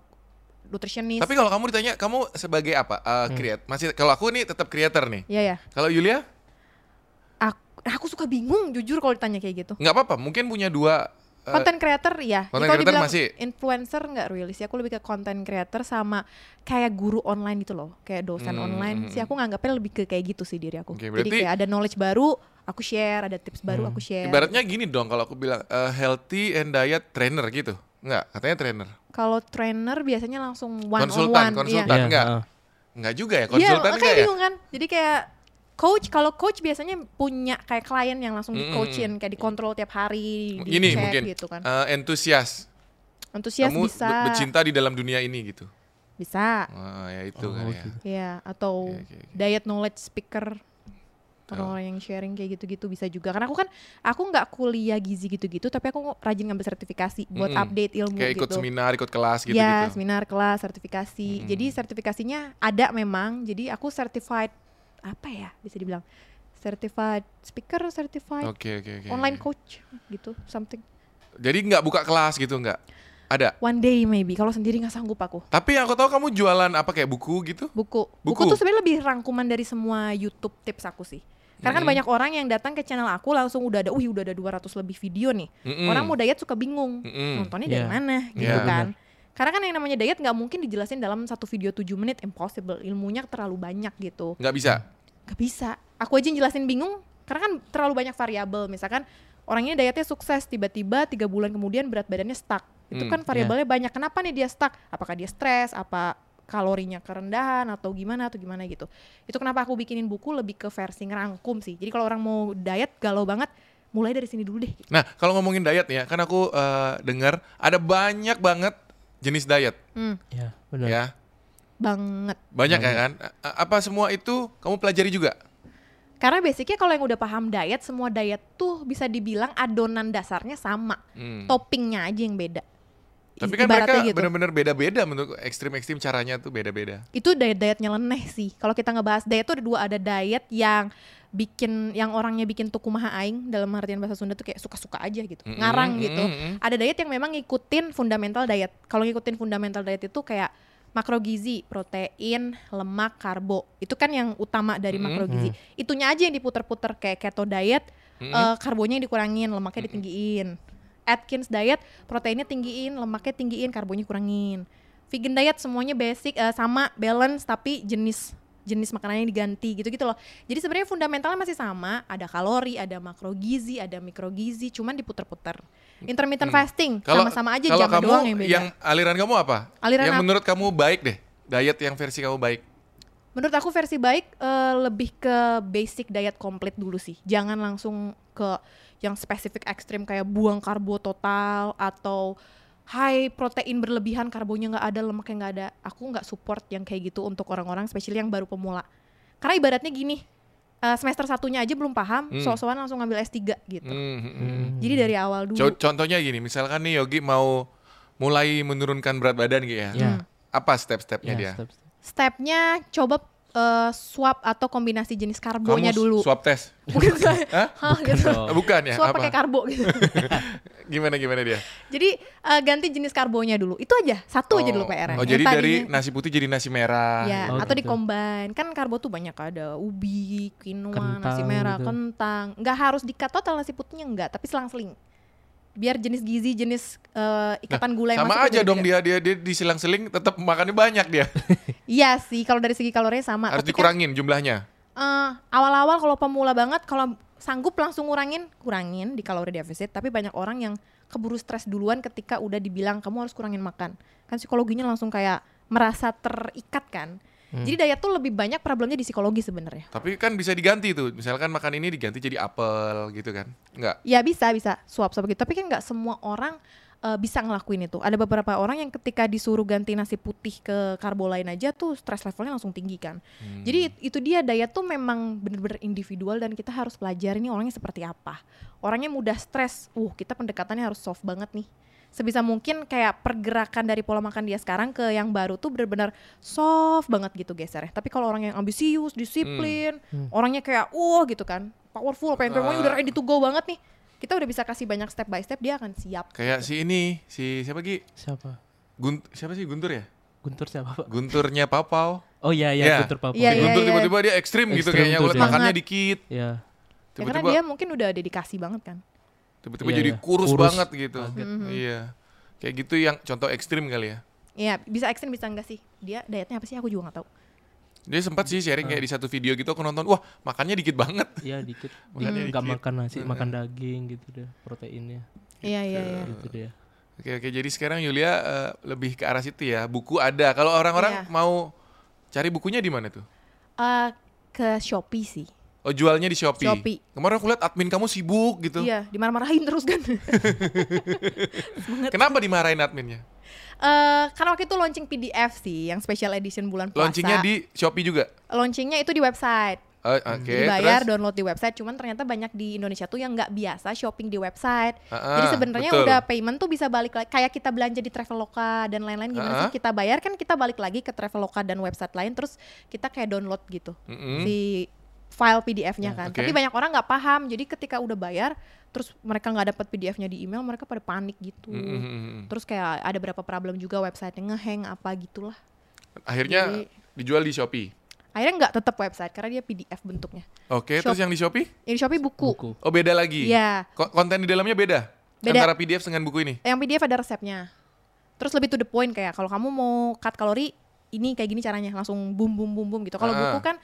S2: nutritionist.
S1: Tapi kalau kamu ditanya kamu sebagai apa? Eh,
S3: Hmm.
S1: create. Masih kalau aku nih tetap creator nih.
S2: Iya ya.
S1: Kalau Yulia
S2: Aku, aku suka bingung jujur kalau ditanya kayak gitu.
S1: nggak apa-apa. Mungkin punya dua. eh,
S2: Content creator ya.
S1: content
S2: Kalau
S1: creator
S2: dibilang
S1: masih-
S2: influencer nggak really sih. Aku lebih ke content creator sama kayak guru online gitu loh, kayak dosen
S1: Hmm,
S2: online.
S1: hmm,
S2: Sih aku nganggapnya lebih ke kayak gitu sih diri aku.
S1: Oke,
S2: Jadi
S1: berarti- Hmm.
S2: kayak ada knowledge baru, aku share, ada tips baru aku share.
S1: ibaratnya gini dong kalau aku bilang eh, healthy and diet trainer gitu. Nggak, katanya trainer.
S2: Kalau trainer biasanya langsung one
S1: Konsultan,
S2: on one.
S1: konsultan.
S3: Iya,
S1: enggak?
S3: heeh.
S1: Nggak juga ya
S2: Iya,
S1: konsultan
S2: makanya
S1: nggak ya?
S2: bingung kan. Jadi kayak coach kalau coach biasanya punya kayak klien yang langsung
S1: Mm,
S2: di coachin kayak dikontrol tiap hari, dicek
S1: Ini mungkin
S2: gitu kan.
S1: eh, entusias.
S2: Antusias
S1: kamu be-
S2: bisa.
S1: bercinta di dalam dunia ini gitu.
S2: Bisa.
S1: Wah, ya itu
S3: Oh,
S1: kan ya.
S3: gitu.
S2: Iya, atau
S1: Oke, oke, oke. Oh.
S2: diet knowledge speaker orang-orang yang sharing kayak gitu-gitu bisa juga. Karena aku kan aku nggak kuliah gizi gitu-gitu, tapi aku rajin ngambil sertifikasi buat
S1: Mm-mm.
S2: update ilmu
S1: Kayak ikut
S2: gitu.
S1: seminar, ikut kelas gitu
S2: ya,
S1: gitu.
S2: seminar, kelas, sertifikasi. Jadi sertifikasinya ada memang. Jadi aku certified apa ya bisa dibilang certified speaker, certified
S1: Oke oke oke.
S2: online coach gitu something.
S1: Jadi nggak buka kelas gitu nggak? Ada.
S2: One day maybe kalau sendiri nggak sanggup aku.
S1: Tapi yang aku tahu kamu jualan apa kayak buku gitu?
S2: Buku. Buku,
S1: Buku.
S2: tuh sebenarnya lebih rangkuman dari semua YouTube tips aku sih. Karena kan
S1: Mm-mm.
S2: banyak orang yang datang ke channel aku langsung udah ada, wih udah ada 200 lebih video nih.
S1: Mm-mm.
S2: Orang mau diet suka bingung,
S1: Mm-mm.
S2: nontonnya dari
S3: Iya.
S2: mana gitu
S1: Hmm. Iya.
S2: kan. Karena kan yang namanya diet nggak mungkin dijelasin dalam satu video 7 menit, impossible. Ilmunya terlalu banyak gitu.
S1: Nggak bisa.
S2: Gak bisa. Aku aja yang jelasin bingung karena kan terlalu banyak variabel. Misalkan orang ini dietnya sukses tiba-tiba tiga bulan kemudian berat badannya stuck. Itu
S1: Hmm,
S2: kan variabelnya banyak. Kenapa nih dia stuck? Apakah dia stres? Apa kalorinya kerendahan atau gimana atau gimana gitu. Itu kenapa aku bikinin buku lebih ke versi ngerangkum sih. Jadi kalau orang mau diet galau banget mulai dari sini dulu deh.
S1: Nah, kalau ngomongin diet nih ya, kan aku eh, dengar ada banyak banget jenis diet
S2: Hmm,
S3: ya benar
S1: ya.
S2: banget.
S1: Banyak ya kan? A- Apa semua itu kamu pelajari juga?
S2: Karena basicnya kalau yang udah paham diet, semua diet tuh bisa dibilang adonan dasarnya sama.
S1: Hmm.
S2: Toppingnya aja yang beda. I-
S1: Tapi kan
S2: ibaratnya
S1: mereka
S2: gitu.
S1: benar-benar beda-beda menurut ekstrim-ekstrim caranya tuh beda-beda.
S2: itu diet-diet nyeleneh sih. Kalau kita ngebahas diet tuh ada dua, ada diet yang bikin yang orangnya bikin tuku maha aing dalam artian bahasa Sunda tuh kayak suka-suka aja gitu.
S1: Mm-mm,
S2: Ngarang
S1: mm-mm,
S2: gitu.
S1: mm-mm.
S2: Ada diet yang memang ngikutin fundamental diet. Kalau ngikutin fundamental diet itu kayak makro gizi, protein, lemak, karbo. Itu kan yang utama dari
S1: Mm-mm.
S2: makro gizi. Itunya aja yang diputer-puter kayak keto diet,
S1: Mm-mm.
S2: eh, karbonya yang dikurangin,
S1: Hmm,
S2: lemaknya ditinggiin. Atkins diet, proteinnya tinggiin, lemaknya tinggiin, karbonya kurangin. Vegan diet semuanya basic eh, sama balance tapi jenis jenis makanannya diganti gitu-gitu loh. Jadi sebenarnya fundamentalnya masih sama, ada kalori, ada makro gizi, ada mikro gizi, cuman diputer-puter. Intermittent fasting sama-sama aja
S1: Hmm. kalau
S2: jam
S1: kamu
S2: doang yang beda.
S1: aliran kamu apa?
S2: Aliran
S1: yang
S2: apa?
S1: menurut kamu baik deh. Diet yang versi kamu baik.
S2: Menurut aku versi baik eh, lebih ke basic diet komplit dulu sih. Jangan langsung ke yang spesifik ekstrim kayak buang karbo total atau high protein berlebihan karbonya nggak ada lemaknya nggak ada. Aku nggak support yang kayak gitu untuk orang-orang spesial yang baru pemula. Karena ibaratnya gini eh, semester satunya aja belum paham,
S1: Hmm.
S2: sok-sokan langsung ngambil S3 gitu.
S1: Hmm, hmm, hmm.
S3: Hmm.
S2: Jadi dari awal dulu.
S1: Co- Contohnya gini, misalkan nih Yogi mau mulai menurunkan berat badan gitu ya.
S2: Hmm.
S3: Ya,
S1: Apa step-stepnya
S3: ya,
S1: dia?
S3: step- step.
S2: Stepnya coba eh, swap atau kombinasi jenis karbonya
S1: s-
S2: <laughs> dulu.
S1: swab tes.
S2: Bukan
S1: <laughs>
S2: saya.
S1: Hah?
S2: Hah, gitu.
S1: Eh, Bukan ya?
S2: Swap
S1: apa?
S2: pakai karbo gitu.
S1: Gimana gimana dia?
S2: Jadi eh, ganti jenis karbonya dulu. Itu aja, satu aja dulu PR-nya.
S1: Oh,
S2: Yang
S1: jadi dari
S2: tadinya-
S1: nasi putih jadi nasi merah.
S2: ya,
S3: Oh,
S2: atau
S3: gitu.
S2: dikombin. Kan karbo tuh banyak ada ubi, quinoa, nasi
S3: Kentang
S2: merah,
S3: gitu.
S2: kentang. Nggak harus di-cut total nasi putihnya enggak, tapi selang-seling. Biar jenis gizi, jenis eh, ikatan gula
S1: Nah,
S2: yang
S1: Sama
S2: masuk tuh
S1: aja dong
S2: beda-beda.
S1: dia dia dia disilang-seling tetap makannya banyak
S2: <laughs>
S1: dia.
S2: Iya sih, kalau dari segi kalorinya sama.
S1: Harus
S2: Tapi kan,
S1: dikurangin jumlahnya.
S2: eh, awal-awal kalau pemula banget kalau sanggup langsung ngurangin, kurangin di kalori defisit, tapi banyak orang yang keburu stres duluan ketika udah dibilang kamu harus kurangin makan. Kan psikologinya langsung kayak merasa terikat kan. Jadi diet tuh lebih banyak problemnya di psikologi sebenarnya.
S1: Tapi kan bisa diganti tuh. Misalkan makan ini diganti jadi apel gitu kan. Enggak.
S2: Ya bisa bisa suap suap gitu, tapi kan nggak semua orang eh, bisa ngelakuin itu. Ada beberapa orang yang ketika disuruh ganti nasi putih ke karbo lain aja tuh stress levelnya langsung tinggi kan. Jadi
S3: Hmm.
S2: it- itu dia diet tuh memang bener-bener individual dan kita harus pelajari nih orangnya seperti apa. Orangnya mudah stres, uh kita pendekatannya harus soft banget nih. Sebisa mungkin kayak pergerakan dari pola makan dia sekarang ke yang baru tuh bener-bener soft banget gitu gesernya. Tapi kalau orang yang ambisius, disiplin,
S3: Hmm.
S2: orangnya kayak uh gitu kan, powerful, pengen pokoknya
S1: Ah.
S2: udah ready to go banget nih. Kita udah bisa kasih banyak step by step dia akan siap.
S1: Kayak si ini, si siapa Ki?
S3: siapa
S1: Gunt, siapa sih Guntur ya?
S3: Guntur siapa pak
S1: Gunturnya Papau.
S3: oh iya
S1: Iya.
S3: iya Guntur Papua
S2: Iya,
S3: ya.
S2: iya.
S1: Guntur tiba-tiba dia ekstrim, gitu
S3: Ekstrim
S1: kayaknya.
S3: tuh
S1: Ulet
S3: dia.
S1: makannya dikit.
S3: Iya.
S2: Ya, karena
S1: Tiba-tiba
S2: dia mungkin udah dedikasi banget kan.
S1: tiba-tiba
S3: Iya,
S1: jadi
S3: iya.
S1: kurus,
S3: Kurus.
S1: banget gitu.
S3: Kaget.
S1: Iya.
S2: Mm-hmm.
S1: Kayak gitu yang contoh ekstrim kali ya.
S2: Iya, bisa ekstrim bisa enggak sih? Dia dietnya apa sih? Aku juga nggak tahu.
S1: Dia sempat sih sharing kayak di satu video gitu aku nonton, wah makannya dikit banget.
S3: Iya dikit.
S1: Makannya
S3: Enggak
S1: dikit. Iya.
S3: makan nasi, makan daging gitu deh proteinnya.
S2: Iya, iya, iya.
S3: Gitu deh.
S1: Oke oke jadi sekarang Yulia eh, lebih ke arah situ ya. Buku ada. Kalau orang-orang
S2: Iya.
S1: mau cari bukunya di mana tuh?
S2: Eh, ke Shopee sih.
S1: Oh jualnya di Shopee.
S2: Shopee.
S1: Kemarin aku lihat admin kamu sibuk gitu.
S2: Iya, dimarah-marahin terus
S1: <laughs>
S2: kan.
S1: Kenapa dimarahin adminnya?
S2: Eh, karena waktu itu launching PDF sih, yang special edition bulan puasa.
S1: Launchingnya di Shopee juga.
S2: Launchingnya itu di website.
S1: Eh, Oke.
S2: Hmm. Dibayar,
S1: terus?
S2: download di website. Cuman ternyata banyak di Indonesia tuh yang nggak biasa shopping di website.
S1: Ah,
S2: Jadi sebenarnya
S1: betul.
S2: udah payment tuh bisa balik lagi. Kayak kita belanja di Traveloka dan lain-lain gimana
S1: Ah.
S2: sih? Kita bayar kan kita balik lagi ke Traveloka dan website lain. Terus kita kayak download gitu.
S1: Mm-mm. Ya,
S2: si file PDF-nya kan.
S1: oke.
S2: Tapi banyak orang nggak paham. Jadi ketika udah bayar, terus mereka nggak dapat PDF-nya di email, mereka pada panik gitu.
S1: Mm, mm, mm, mm.
S2: Terus kayak ada berapa problem juga websitenya ngehang apa gitulah.
S1: Akhirnya
S2: Jadi-
S1: dijual di Shopee.
S2: Akhirnya nggak tetap website karena dia PDF bentuknya.
S1: Oke, terus
S2: Shop-
S1: yang di Shopee?
S2: Ini Shopee buku.
S3: Buku.
S1: Oh, beda lagi.
S2: Iya.
S1: Ko- konten di dalamnya beda.
S2: Beda.
S1: Antara PDF dengan buku ini.
S2: Yang PDF ada resepnya. Terus lebih to the point kayak kalau kamu mau cut kalori, ini kayak gini caranya langsung bum bum bum bum gitu. Kalau
S1: Ah.
S2: buku kan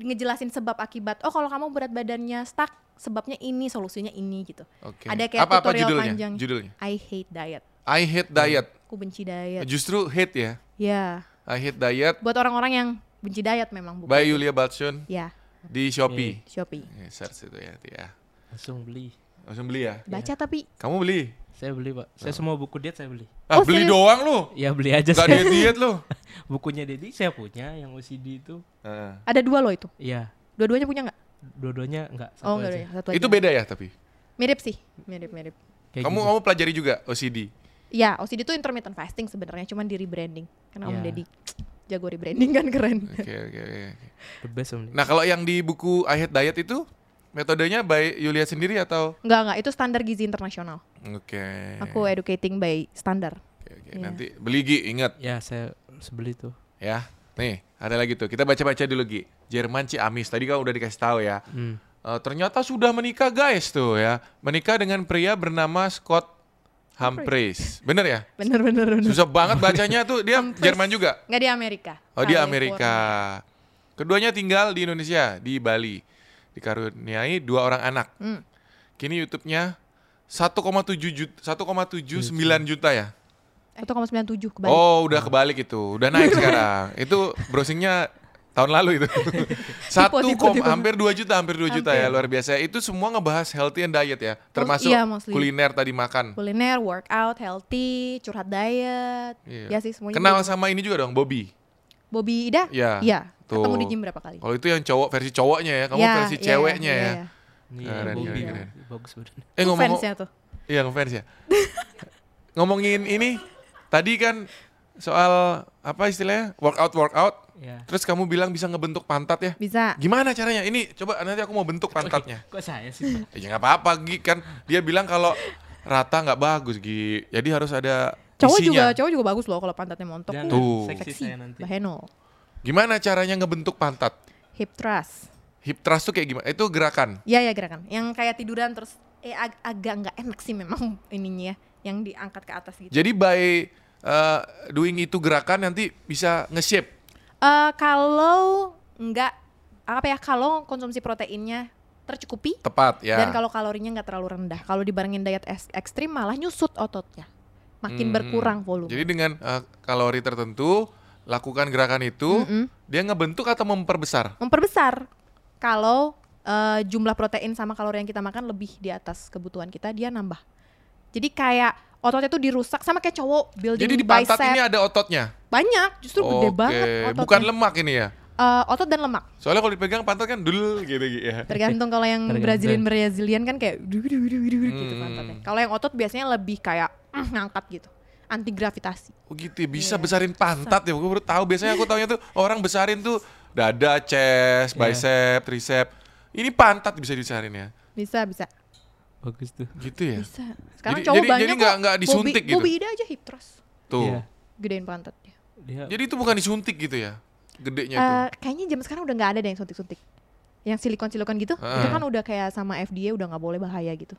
S2: ngejelasin sebab akibat. Oh kalau kamu berat badannya stuck, sebabnya ini, solusinya ini gitu.
S1: Oke.
S2: Ada kayak
S1: Apa-apa
S2: tutorial
S1: judulnya?
S2: panjang.
S1: Judulnya.
S2: I hate diet.
S1: I hate diet.
S2: Aku benci diet.
S1: Justru hate ya.
S2: Ya,
S1: I hate diet
S2: buat orang-orang yang benci diet memang bukan.
S1: by Yulia Batsun
S2: Ya,
S1: di Shopee.
S2: Shopee.
S3: Iya.
S1: Ya, search itu ya, nanti ya.
S3: Langsung beli.
S2: Iya.
S1: Langsung beli ya.
S2: Baca tapi
S1: Kamu beli?
S3: Saya beli pak.
S1: Oh.
S3: Saya semua buku diet saya beli.
S1: Ah,
S2: Oh,
S1: beli
S2: serius?
S1: doang lu.
S3: Ya beli aja
S1: Gak
S3: saya.
S1: diet diet
S3: <laughs>
S1: lu.
S3: Bukunya Dedi saya punya, yang OCD itu.
S1: Heeh.
S2: Ada dua loh itu.
S3: Iya.
S2: Dua-duanya punya nggak?
S3: Dua-duanya enggak
S2: Oh
S3: satu
S2: nggak ada.
S3: aja.
S2: ya, Satu aja.
S1: Itu beda ya tapi.
S2: Mirip sih. Mirip mirip.
S3: Kayak
S1: kamu
S3: gitu.
S1: kamu pelajari juga OCD.
S2: <laughs> Ya OCD itu intermittent fasting sebenarnya, cuman di rebranding. Karena Om
S3: Ya.
S2: Deddy jago rebranding kan
S1: <laughs>
S2: keren.
S1: Oke oke oke. oke.
S3: the best Om Deddy.
S1: Nah kalau yang di buku I Hate Diet itu metodenya by Yulia sendiri atau?
S2: Nggak nggak itu standar gizi internasional.
S1: Oke.
S2: Aku
S1: ya.
S2: educating by standar.
S1: Oke, oke.
S2: Iya.
S1: Nanti beli Gi, ingat
S3: Ya saya sebeli tuh.
S1: ya. Nih ada lagi tuh. Kita baca-baca dulu Gi. Jerman Ciamis tadi kan udah dikasih tahu ya.
S3: Hmm.
S1: Eh, ternyata sudah menikah guys tuh ya. Menikah dengan pria bernama Scott Humphreys. Bener ya?
S2: Bener bener bener.
S1: Susah banget bacanya tuh. Dia
S2: Humphreys.
S1: Jerman juga.
S2: Nggak di Amerika.
S1: Oh dia
S2: California.
S1: Amerika. Keduanya tinggal di Indonesia, di Bali. Dikaruniai dua orang anak.
S2: Hmm.
S1: Kini YouTube-nya 1,7 juta, 1,79 juta ya.
S2: Eh, 1,97 kebalik.
S1: Oh, udah kebalik itu. Udah naik
S2: <laughs>
S1: sekarang. Itu browsingnya tahun lalu itu. Satu
S2: tipe,
S1: kom-
S2: tipe.
S1: hampir 2 juta, hampir 2 juta ya,
S2: Hampir.
S1: luar biasa. Itu semua ngebahas healthy and diet ya, termasuk
S2: iya, mostly.
S1: kuliner tadi makan.
S2: Kuliner, workout, healthy, curhat diet.
S1: Iya.
S2: Ya sih semuanya.
S1: Kenal
S2: gitu.
S1: sama ini juga dong, Bobby.
S2: Bobby Ida?
S1: Iya,
S2: Ketemu
S1: tuh.
S2: di gym berapa kali?
S1: Kalau itu yang cowok versi cowoknya ya, kamu
S2: Ya,
S1: versi
S2: iya,
S1: ceweknya
S2: iya,
S1: ya.
S2: iya.
S1: Keren,
S3: Iya, Bobby
S1: keren, keren.
S3: bagus badannya.
S1: Eh
S2: Itu
S1: ngomong
S2: fansnya tuh.
S1: Iya ngefans ya. Ngomongin ini tadi kan soal apa istilahnya workout workout.
S3: Ya.
S1: Terus kamu bilang bisa ngebentuk pantat ya?
S2: Bisa.
S1: Gimana caranya? Ini coba nanti aku mau bentuk pantatnya.
S3: Kok saya sih? Pak?
S1: Ya nggak apa-apa Gi kan dia bilang kalau rata nggak bagus Gi. Jadi harus ada
S2: Cowok
S1: isinya.
S2: juga, cowok juga bagus loh kalau pantatnya montok. Uh,
S3: Jangan,
S1: Tuh.
S3: seksi
S2: Seksi.
S3: saya nanti.
S2: Baheno.
S1: Gimana caranya ngebentuk pantat?
S2: Hip thrust.
S1: Hip thrust tuh kayak gimana? Itu gerakan.
S2: Ya ya gerakan. Yang kayak tiduran terus eh ag- agak nggak enak sih memang <laughs> ininya ya, yang diangkat ke atas gitu.
S1: Jadi by uh, doing itu gerakan nanti bisa nge-shape.
S2: Eh, kalau nggak apa ya kalau konsumsi proteinnya tercukupi
S1: tepat ya.
S2: dan kalau kalorinya nggak terlalu rendah. Kalau dibarengin diet es- ekstrim malah nyusut ototnya.
S1: Hmm.
S2: Makin berkurang volume.
S1: Jadi dengan eh, kalori tertentu lakukan gerakan itu,
S2: Mm-mm.
S1: dia ngebentuk atau memperbesar.
S2: memperbesar kalau eh, jumlah protein sama kalori yang kita makan lebih di atas kebutuhan kita dia nambah jadi kayak ototnya tuh dirusak sama kayak cowok building
S1: Jadi di pantat
S2: bicep
S1: ini ada ototnya.
S2: banyak justru gede
S1: Oke,
S2: banget ototnya
S1: bukan lemak ini ya.
S2: Eh, otot dan lemak
S1: Soalnya kalau dipegang pantat kan dul gitu gitu ya.
S2: tergantung kalau yang
S3: Tergantung.
S2: Brazilian Brazilian kan kayak du- du- du- du- du- gitu
S1: Hmm.
S2: pantatnya kalau yang otot biasanya lebih kayak mm, ngangkat gitu anti gravitasi
S1: Oh gitu ya, bisa
S2: Iya,
S1: besarin pantat ya. Gue baru tahu. Biasanya aku taunya tuh orang besarin tuh dada,
S2: Iya.
S1: chest, bicep, tricep. Ini pantat bisa dibesarin ya.
S2: bisa bisa
S3: Bagus tuh.
S1: Gitu ya.
S2: bisa sekarang
S1: Jadi-
S2: cowok
S1: jadi-
S2: banyak
S1: jadi nggak-
S2: kok.
S1: nggak
S2: Bobby-
S1: disuntik gitu?
S2: Bobby Ida aja hip thrust
S1: Tuh.
S3: Iya.
S2: gedein pantatnya
S3: Dia
S1: Jadi itu bukan disuntik gitu ya. Gedenya tuh.
S2: Eh, kayaknya zaman sekarang udah nggak ada deh yang suntik-suntik. Yang silikon-silikon gitu, itu
S1: Heeh.
S2: kan udah kayak sama FDA udah nggak boleh bahaya gitu.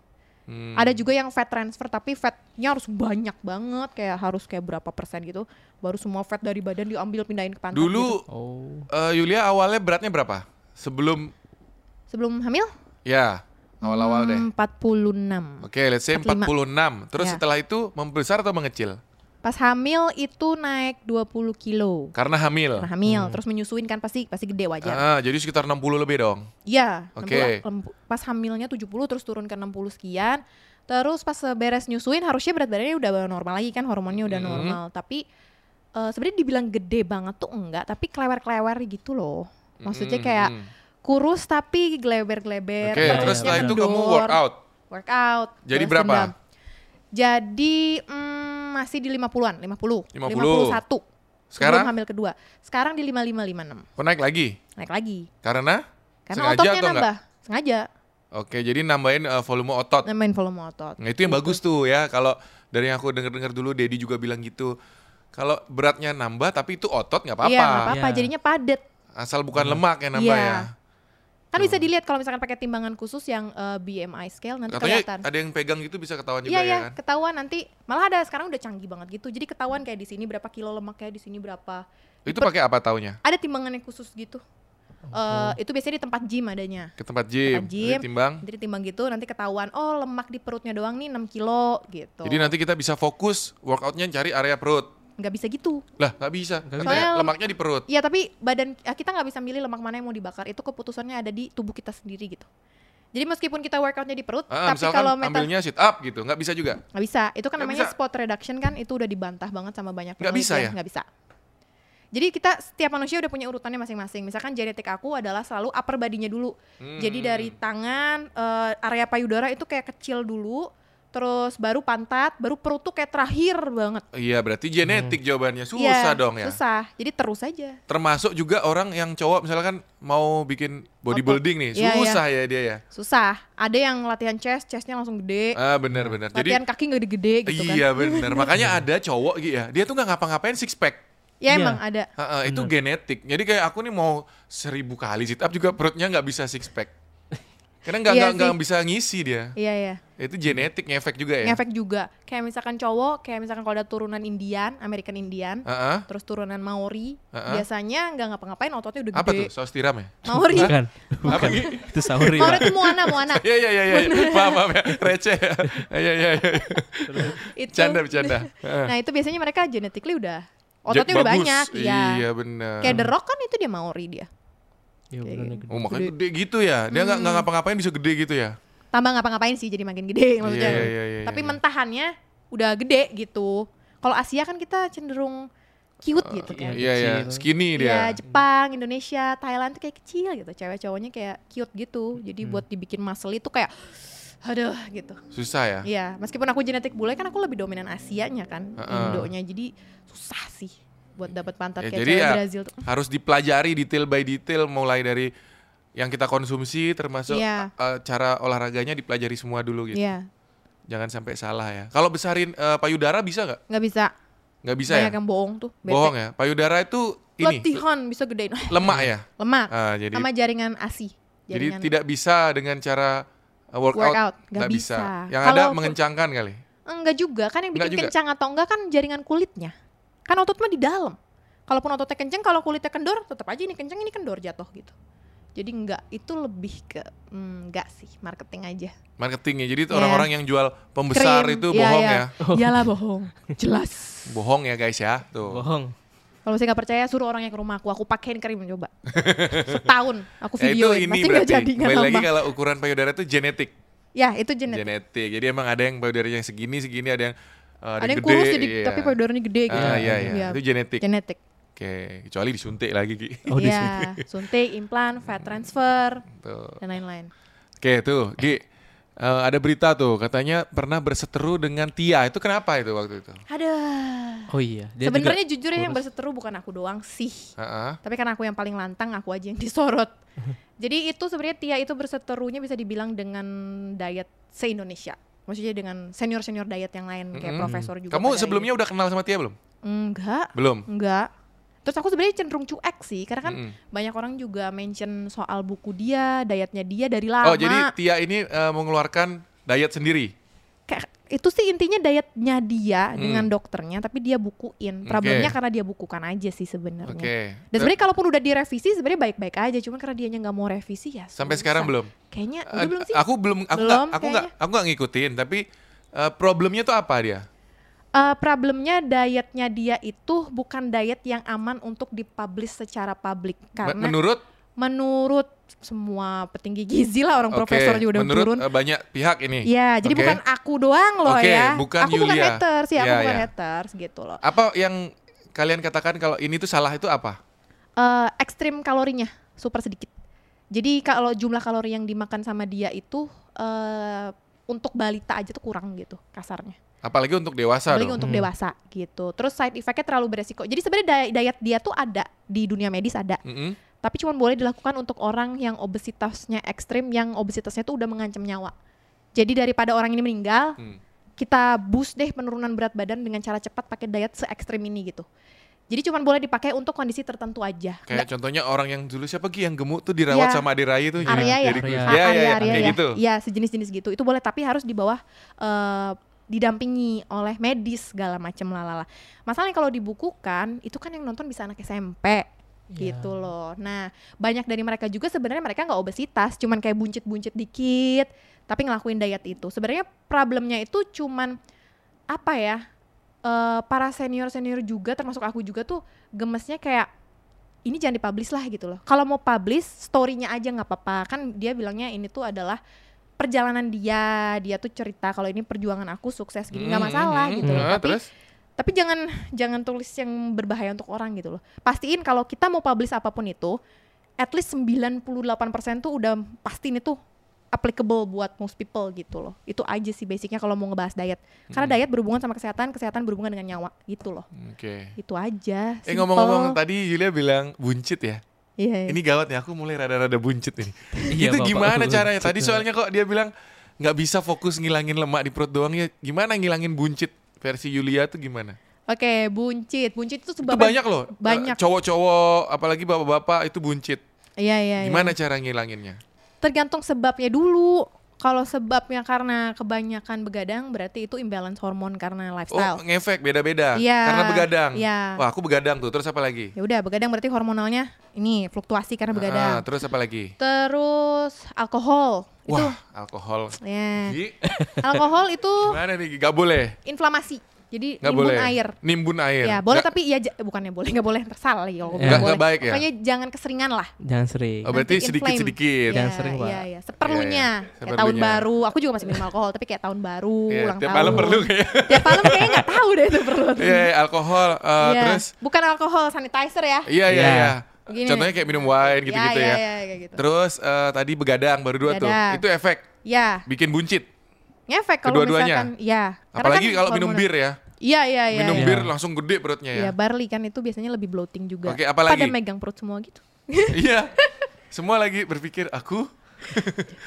S1: Hmm.
S2: Ada juga yang fat transfer tapi fatnya harus banyak banget, kayak harus kayak berapa persen gitu, baru semua fat dari badan diambil pindahin ke pantat. gitu.
S1: Dulu
S3: Oh.
S1: eh, Yulia awalnya beratnya berapa? Sebelum
S2: sebelum hamil?
S1: ya awal-awal deh.
S2: Hmm, 46.
S1: Oke, let's say
S2: 45.
S1: 46. Terus
S2: Ya.
S1: setelah itu membesar atau mengecil?
S2: Pas hamil itu naik 20 kilo.
S1: Karena hamil.
S2: Nah, hamil, terus menyusuin kan pasti pasti gede wajar.
S1: Hmm. Ah, jadi sekitar 60 lebih dong.
S2: Iya,
S1: Oke.
S2: 60 lembu- pas hamilnya 70 terus turun ke 60 sekian. Terus pas beres nyusuin harusnya berat badannya udah normal lagi kan hormonnya udah
S1: Mhm.
S2: normal, tapi eh, sebenarnya dibilang gede banget tuh enggak, tapi kelewer-kelewer gitu loh. Maksudnya
S1: Mm,
S2: kayak
S1: mm.
S2: kurus tapi
S1: Oke,
S2: geleber-geleber.
S1: terus
S2: terusnya
S1: setelah itu kamu
S2: kendor,
S1: workout.
S2: workout,
S1: Jadi
S2: balas
S1: berapa?
S2: dendam. Jadi mm, masih di 50-an, 50.
S1: 50.
S2: 51.
S1: Sekarang
S2: Sebelum hamil kedua. Sekarang di 5556.
S1: kok naik lagi?
S2: Naik lagi.
S1: Karena
S2: Karena
S1: Sengaja
S2: ototnya
S1: atau enggak?
S2: nambah. Sengaja
S1: Oke, jadi nambahin eh, volume otot.
S2: nambahin volume otot.
S1: Nah, itu yang bagus tuh ya. Kalau dari yang aku denger-denger dulu Dedi juga bilang gitu. Kalau beratnya nambah tapi itu otot nggak
S2: Iya, nggak
S1: apa-apa.
S2: apa-apa.
S3: Iya.
S2: Jadinya padat.
S1: Asal bukan lemak yang nambah
S2: Iya.
S1: ya.
S2: Kan bisa
S1: Hmm.
S2: dilihat kalau misalkan pakai timbangan khusus yang eh, BMI scale nanti
S1: Katanya
S2: kelihatan.
S1: ada yang pegang gitu bisa ketahuan juga
S2: Iya ya,
S1: ya kan.
S2: ketahuan nanti. Malah ada sekarang udah canggih banget gitu. Jadi ketahuan kayak di sini berapa kilo lemaknya, di sini berapa.
S1: Itu pakai apa taunya?
S2: Ada timbangan yang khusus gitu. Eh, itu biasanya di tempat gym adanya.
S1: Ke tempat gym,
S2: Tempat gym.
S1: timbang.
S2: Nanti ditimbang gitu, nanti ketahuan, oh lemak di perutnya doang nih 6 kilo gitu.
S1: Jadi nanti kita bisa fokus workoutnya cari area perut.
S2: nggak bisa gitu. Ya,
S1: Lah nggak bisa,
S3: Nggak
S1: katanya
S2: bisa. Soalnya
S1: lemaknya di perut.
S2: Iya tapi badan eh, kita nggak bisa milih lemak mana yang mau dibakar itu keputusannya ada di tubuh kita sendiri gitu. Jadi meskipun kita workoutnya di perut,
S1: Ah,
S2: tapi
S1: misalkan
S2: kalau metal
S1: ambilnya sit up gitu, nggak bisa juga.
S2: nggak bisa. Itu kan
S1: Nggak
S2: namanya
S1: bisa.
S2: spot reduction kan, itu udah dibantah banget sama banyak
S1: Nggak
S2: peneliti
S1: bisa ya?
S2: Nggak bisa. Jadi kita setiap manusia udah punya urutannya masing-masing. Misalkan genetik aku adalah selalu upper body-nya dulu. Jadi
S1: Hmm.
S2: dari tangan, eh, area payudara itu kayak kecil dulu, terus baru pantat, baru perut tuh kayak terakhir banget.
S1: Iya, berarti genetik jawabannya.
S2: Iya,
S1: Susah dong ya.
S2: Susah. Jadi terus aja.
S1: Termasuk juga orang yang cowok misalkan mau bikin bodybuilding nih,
S2: Iya, iya.
S1: susah ya dia ya.
S2: Susah. Ada yang latihan chest, chestnya langsung gede.
S1: Ah, benar benar. Jadi
S2: Hmm. latihan kaki nggak gede-gede gitu kan.
S1: iya benar.
S2: <laughs>
S1: Makanya ada cowok gitu ya. Dia tuh nggak ngapa-ngapain six pack.
S2: Ya
S3: Iya.
S2: emang ada.
S1: Ha-ha, itu genetik. Jadi kayak aku nih mau seribu kali sit up juga perutnya nggak bisa six pack. Karena nggak
S2: Iya
S1: nggak nggak
S2: sih.
S1: bisa ngisi dia.
S2: Iya ya.
S1: Itu genetik ngefek juga ya.
S2: Ngefek juga. Kayak misalkan cowok, kayak misalkan kalau ada turunan Indian, American Indian,
S1: Ha-ha.
S2: terus turunan Maori,
S1: Ah-ah.
S2: biasanya nggak ngapa-ngapain ototnya udah
S1: Ah, Apa tuh?
S2: gede.
S1: Saus tiram ya?
S2: Maori.
S3: Bukan.
S1: Apa
S3: Bukan.
S1: Gi?
S3: Itu ya. sahuri.
S2: Maori
S3: Pak.
S2: itu Moana, Moana.
S1: <laughs> Iya iya iya iya. Maaf maaf ya. Receh. ya. Iya iya iya.
S2: itu.
S1: Canda bercanda. Ha.
S2: <laughs> Nah, itu biasanya mereka genetically udah
S1: Ja-
S2: ototnya udah
S1: bagus.
S2: banyak,
S1: Iya
S2: ya.
S1: benar.
S2: Kayak The Rock kan itu dia Maori dia.
S3: Iya, beneran gede.
S1: Oh makanya gede gitu ya. Dia nggak
S2: Hmm.
S1: nggak ngapa-ngapain bisa gede gitu ya.
S2: Tambah ngapa-ngapain sih jadi makin gede maksudnya.
S1: Iya, iya, iya,
S2: Tapi
S1: iya.
S2: mentahannya udah gede gitu. Kalau Asia kan kita cenderung cute gitu kan.
S1: Iya iya.
S3: Kecil.
S1: Skinny
S2: Ya,
S1: dia.
S2: Jepang, Indonesia, Thailand tuh kayak kecil gitu. Cewek cowoknya kayak cute gitu. Jadi
S1: Hmm.
S2: buat dibikin muscle itu kayak aduh gitu.
S1: Susah ya.
S2: Iya, meskipun aku genetik bule kan aku lebih dominan Asianya kan,
S1: Heeh.
S2: Indonya. Jadi susah sih buat dapat pantat
S1: Ya,
S2: kayak
S1: jadi
S2: cewek
S1: ya
S2: Brazil tuh.
S1: harus dipelajari detail by detail mulai dari yang kita konsumsi termasuk
S2: Iya.
S1: uh, cara olahraganya dipelajari semua dulu gitu.
S2: Iya,
S1: Jangan sampai salah ya. Kalau besarin uh, payudara bisa nggak?
S2: nggak bisa.
S1: Nggak bisa
S2: Banyak
S1: ya?
S2: yang bohong tuh, bete.
S1: Bohong ya. Payudara itu ini
S2: Latihan bisa gedein <laughs>
S1: lemak ya.
S2: lemak
S1: Ah, jadi
S2: sama jaringan ASI.
S1: jadi
S2: Jaringan
S1: tidak bisa dengan cara uh, workout,
S2: Workout, nggak
S1: nggak bisa.
S2: bisa.
S1: Yang ada
S2: Kalau-
S1: mengencangkan kali.
S2: enggak juga kan yang
S1: Enggak
S2: bikin
S1: juga.
S2: kencang atau enggak kan jaringan kulitnya. Kan otot mah di dalam. Kalaupun ototnya kencang, kalau kulitnya kendor, tetap aja ini kencang, ini kendor jatuh gitu. Jadi enggak, itu lebih ke hmm, enggak sih, marketing aja.
S1: Marketingnya. Jadi itu
S2: Iya.
S1: orang-orang yang jual pembesar
S2: Krim,
S1: itu
S2: iya,
S1: bohong
S2: iya.
S1: ya.
S2: Iyalah bohong, jelas.
S1: Bohong ya guys ya. Tuh.
S3: Bohong.
S2: Kalau saya nggak percaya suruh orangnya ke rumah aku, aku pakein krim coba. Setahun aku
S1: <laughs> Ya, itu
S2: videoin,
S1: ini
S2: pasti nggak
S1: berarti.
S2: jadi kan, nggak
S1: Kembali lagi
S2: nambah.
S1: kalau ukuran payudara itu genetik.
S2: Ya itu genetik.
S1: genetik. Jadi emang ada yang payudaranya yang segini, segini ada yang uh,
S2: Ada
S1: gede,
S2: yang kurus jadi
S1: iya.
S2: tapi payudaranya gede gitu.
S1: Ah, iya, iya. Itu genetik.
S2: Genetik.
S1: Oke, kecuali disuntik lagi Ki. <laughs>
S3: Oh, di
S2: Iya, suntik, implan, fat transfer
S1: Tuh.
S2: dan lain-lain.
S1: Oke, tuh Ki. Eh, ada berita tuh katanya pernah berseteru dengan Tia. Itu kenapa itu waktu itu?
S2: Ada.
S3: Oh iya. Dia juga-
S2: Sebenarnya jujur ya yang
S3: kurus.
S2: berseteru bukan aku doang sih.
S1: Heeh.
S2: Tapi karena aku yang paling lantang, aku aja yang <laughs> disorot. Jadi itu sebenarnya Tia itu berseterunya bisa dibilang dengan diet se-Indonesia. Maksudnya dengan senior-senior diet yang lain kayak
S1: Mm-mm.
S2: profesor juga. gitu.
S1: Kamu
S2: pada
S1: sebelumnya udah kenal sama Tia belum?
S2: Enggak,
S1: Belum.
S2: enggak. Terus aku sebenarnya cenderung cuek sih, karena kan
S1: Mm-mm.
S2: banyak orang juga mention soal buku dia, dietnya dia dari lama.
S1: Oh, jadi Tia ini eh, mengeluarkan diet sendiri.
S2: Kayak- itu sih intinya dietnya dia
S1: Hmm.
S2: dengan dokternya, tapi dia bukuin. Problemnya
S1: Oke.
S2: karena dia bukukan aja sih sebenarnya.
S1: Oke.
S2: Iya.
S1: Eh.
S2: Dan sebenarnya kalaupun udah direvisi sebenarnya baik-baik aja, cuman karena dianya nggak mau revisi ya.
S1: Eh, Sampai
S2: susah.
S1: sekarang belum?
S2: Kayaknya udah
S1: Ad-
S2: belum sih.
S1: Aku belum aku
S2: Belum,
S1: nggak aku nggak
S2: kayaknya.
S1: aku nggak ngikutin, tapi eh, problemnya tuh apa dia?
S2: Eh, problemnya dietnya dia itu bukan diet yang aman untuk dipublish secara publik
S1: Men-
S2: karena
S1: Menurut
S2: menurut semua petinggi gizi lah orang
S1: Oke,
S2: profesor juga udah
S1: menurut
S2: turun.
S1: eh, banyak pihak ini.
S2: Iya, jadi
S1: Oke.
S2: bukan aku doang loh
S1: Oke,
S2: ya.
S1: bukan
S2: aku bukan
S1: Yulia.
S2: haters ya, aku
S1: Iya,
S2: bukan
S1: iya.
S2: haters gitu loh.
S1: Apa yang kalian katakan kalau ini tuh salah itu apa?
S2: Eh, ekstrim kalorinya super sedikit. Jadi kalau jumlah kalori yang dimakan sama dia itu eh untuk balita aja tuh kurang gitu kasarnya.
S1: Apalagi untuk dewasa
S2: Apalagi
S1: dong.
S2: untuk
S3: Hmm.
S2: dewasa gitu. Terus side effect-nya terlalu beresiko. Jadi sebenarnya day- diet dia tuh ada di dunia medis ada,
S1: Mm-mm.
S2: tapi cuma boleh dilakukan untuk orang yang obesitasnya ekstrim, yang obesitasnya tuh udah mengancam nyawa. Jadi daripada orang ini meninggal,
S1: Hmm.
S2: kita boost deh penurunan berat badan dengan cara cepat pakai diet se ekstrim ini gitu. Jadi cuma boleh dipakai untuk kondisi tertentu aja.
S1: Kayak contohnya orang yang dulu siapa Ki yang gemuk tuh dirawat
S2: Iya.
S1: sama Ade Rai tuh.
S2: Arya ya?
S1: Jadi-
S3: Arya.
S1: Iya, iya, iya.
S2: area
S1: Kayak
S2: ya.
S1: gitu.
S2: Iya, sejenis-jenis gitu. Itu boleh tapi harus di bawah eh, didampingi oleh medis segala macam lalala. Masalahnya kalau dibukukan, itu kan yang nonton bisa anak SMP
S3: Iya.
S2: gitu loh. Nah, banyak dari mereka juga sebenarnya mereka nggak obesitas, cuman kayak buncit-buncit dikit, tapi ngelakuin diet itu. Sebenarnya problemnya itu cuman apa ya? eh, para senior-senior juga termasuk aku juga tuh gemesnya kayak ini jangan dipublish lah gitu loh. Kalau mau publish story-nya aja nggak apa-apa. Kan dia bilangnya ini tuh adalah perjalanan dia, dia tuh cerita kalau ini perjuangan aku sukses gini nggak masalah gitu loh.
S1: Nah,
S2: Tapi
S1: terus
S2: tapi jangan jangan tulis yang berbahaya untuk orang gitu loh. Pastiin kalau kita mau publish apapun itu, at least 98% tuh udah pastiin itu applicable buat most people gitu loh. Itu aja sih basicnya kalau mau ngebahas diet. Karena
S1: Hmm.
S2: diet berhubungan sama kesehatan, kesehatan berhubungan dengan nyawa gitu loh.
S1: oke.
S2: Itu aja.
S1: Eh
S2: simple.
S1: ngomong-ngomong tadi Julia bilang buncit ya.
S2: Iya, iya.
S1: Ini gawat nih aku mulai rada-rada buncit ini.
S3: <laughs> Iya,
S1: itu
S3: Bapak,
S1: gimana
S3: aku
S1: caranya?
S3: buncit.
S1: Tadi soalnya kok dia bilang nggak bisa fokus ngilangin lemak di perut doang ya. Gimana ngilangin buncit versi Yulia tuh gimana?
S2: Oke, buncit. Buncit itu
S1: Itu
S2: sebabnya
S1: banyak loh. eh,
S2: Banyak.
S1: Cowok-cowok apalagi bapak-bapak itu buncit.
S2: Iya, iya, iya.
S1: Gimana cara ngilanginnya?
S2: Tergantung sebabnya dulu. Kalau sebabnya karena kebanyakan begadang berarti itu imbalance hormon karena
S1: Oh,
S2: lifestyle.
S1: ngefek beda-beda.
S2: Iya.
S1: Karena begadang.
S2: Iya.
S1: Wah, aku begadang tuh. Terus apa lagi?
S2: Ya udah begadang berarti hormonalnya ini fluktuasi karena
S1: Ah,
S2: begadang.
S1: terus apa lagi?
S2: Terus alkohol itu
S1: Wah, alkohol.
S2: ya.
S1: Gi,
S2: Alkohol itu
S1: Gimana nih? Gi? Gak boleh.
S2: inflamasi. Jadi
S1: Gak
S2: nimbun
S1: boleh.
S2: air.
S1: Nimbun air.
S2: Ya, boleh
S1: Nggak-
S2: tapi ya ja- bukannya boleh, nggak boleh tersalah lagi kalau
S3: Nggak-
S2: bilang
S3: nggak
S2: boleh.
S1: baik ya?
S2: Pokoknya jangan keseringan lah.
S3: Jangan sering.
S1: Oh, berarti
S2: nanti inflame.
S1: sedikit-sedikit.
S2: Iya,
S3: Jangan sering, Pak.
S2: Iya, iya, seperlunya.
S1: Iya, iya,
S2: Kayak tahun
S1: seperlunya.
S2: baru, aku juga masih minum alkohol tapi kayak tahun baru,
S1: Iya,
S2: ulang
S1: tiap
S2: tahun.
S1: malam perlu kayaknya.
S2: Tiap malam kayaknya nggak tahu deh itu perlu. atau
S1: Iya, iya, alkohol. eh,
S2: Iya.
S1: Terus,
S2: bukan alkohol, sanitizer ya.
S1: iya, iya,
S3: Iya.
S1: iya.
S2: Begini.
S1: Contohnya kayak minum wine gitu-gitu
S2: Iya,
S1: ya.
S2: iya, iya, kayak gitu.
S1: Terus eh, tadi begadang baru dua tuh.
S2: Begadang.
S1: Itu efek
S2: Ya,
S1: bikin buncit.
S2: ngefek kalau
S1: Kedua-duanya?
S2: misalkan ya. Karena
S1: Apalagi
S2: kan
S1: kalau minum
S2: hormonal.
S1: bir ya.
S2: Iya, iya, iya.
S1: minum
S2: iya.
S1: bir langsung gede perutnya ya.
S2: Ya, barley kan itu biasanya lebih bloating juga.
S1: Oke, apalagi?
S2: Pada megang perut semua gitu.
S1: <laughs> Iya. Semua lagi berpikir aku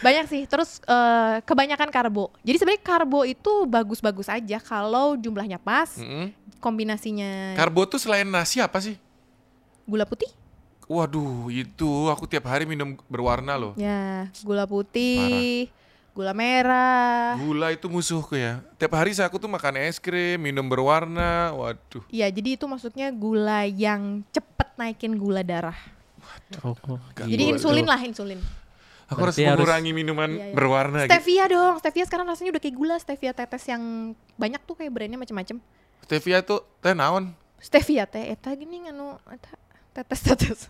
S2: Banyak sih. Terus eh, kebanyakan karbo. Jadi sebenarnya karbo itu bagus-bagus aja kalau jumlahnya pas,
S1: Mm-mm.
S2: kombinasinya
S1: Karbo tuh selain nasi apa sih?
S2: gula putih.
S1: Waduh, itu aku tiap hari minum berwarna loh.
S2: Ya, gula putih, gula merah.
S1: Gula itu musuhku ya. Tiap hari saya aku tuh makan es krim, minum berwarna. Waduh.
S2: Iya, jadi itu maksudnya gula yang cepet naikin gula darah.
S3: Oh, oh,
S1: Gak Waduh.
S2: Jadi
S3: gitu.
S2: insulin lah, insulin.
S1: Aku
S3: Berarti
S1: harus
S3: harus-
S1: mengurangi minuman
S2: Iya, iya.
S1: berwarna gitu.
S2: Stevia dong, stevia sekarang rasanya udah kayak gula, stevia tetes yang banyak tuh kayak brandnya macam-macam.
S1: gitu. Stevia tuh teh naon?
S2: Stevia teh eta gini nganu eta tetes tetes.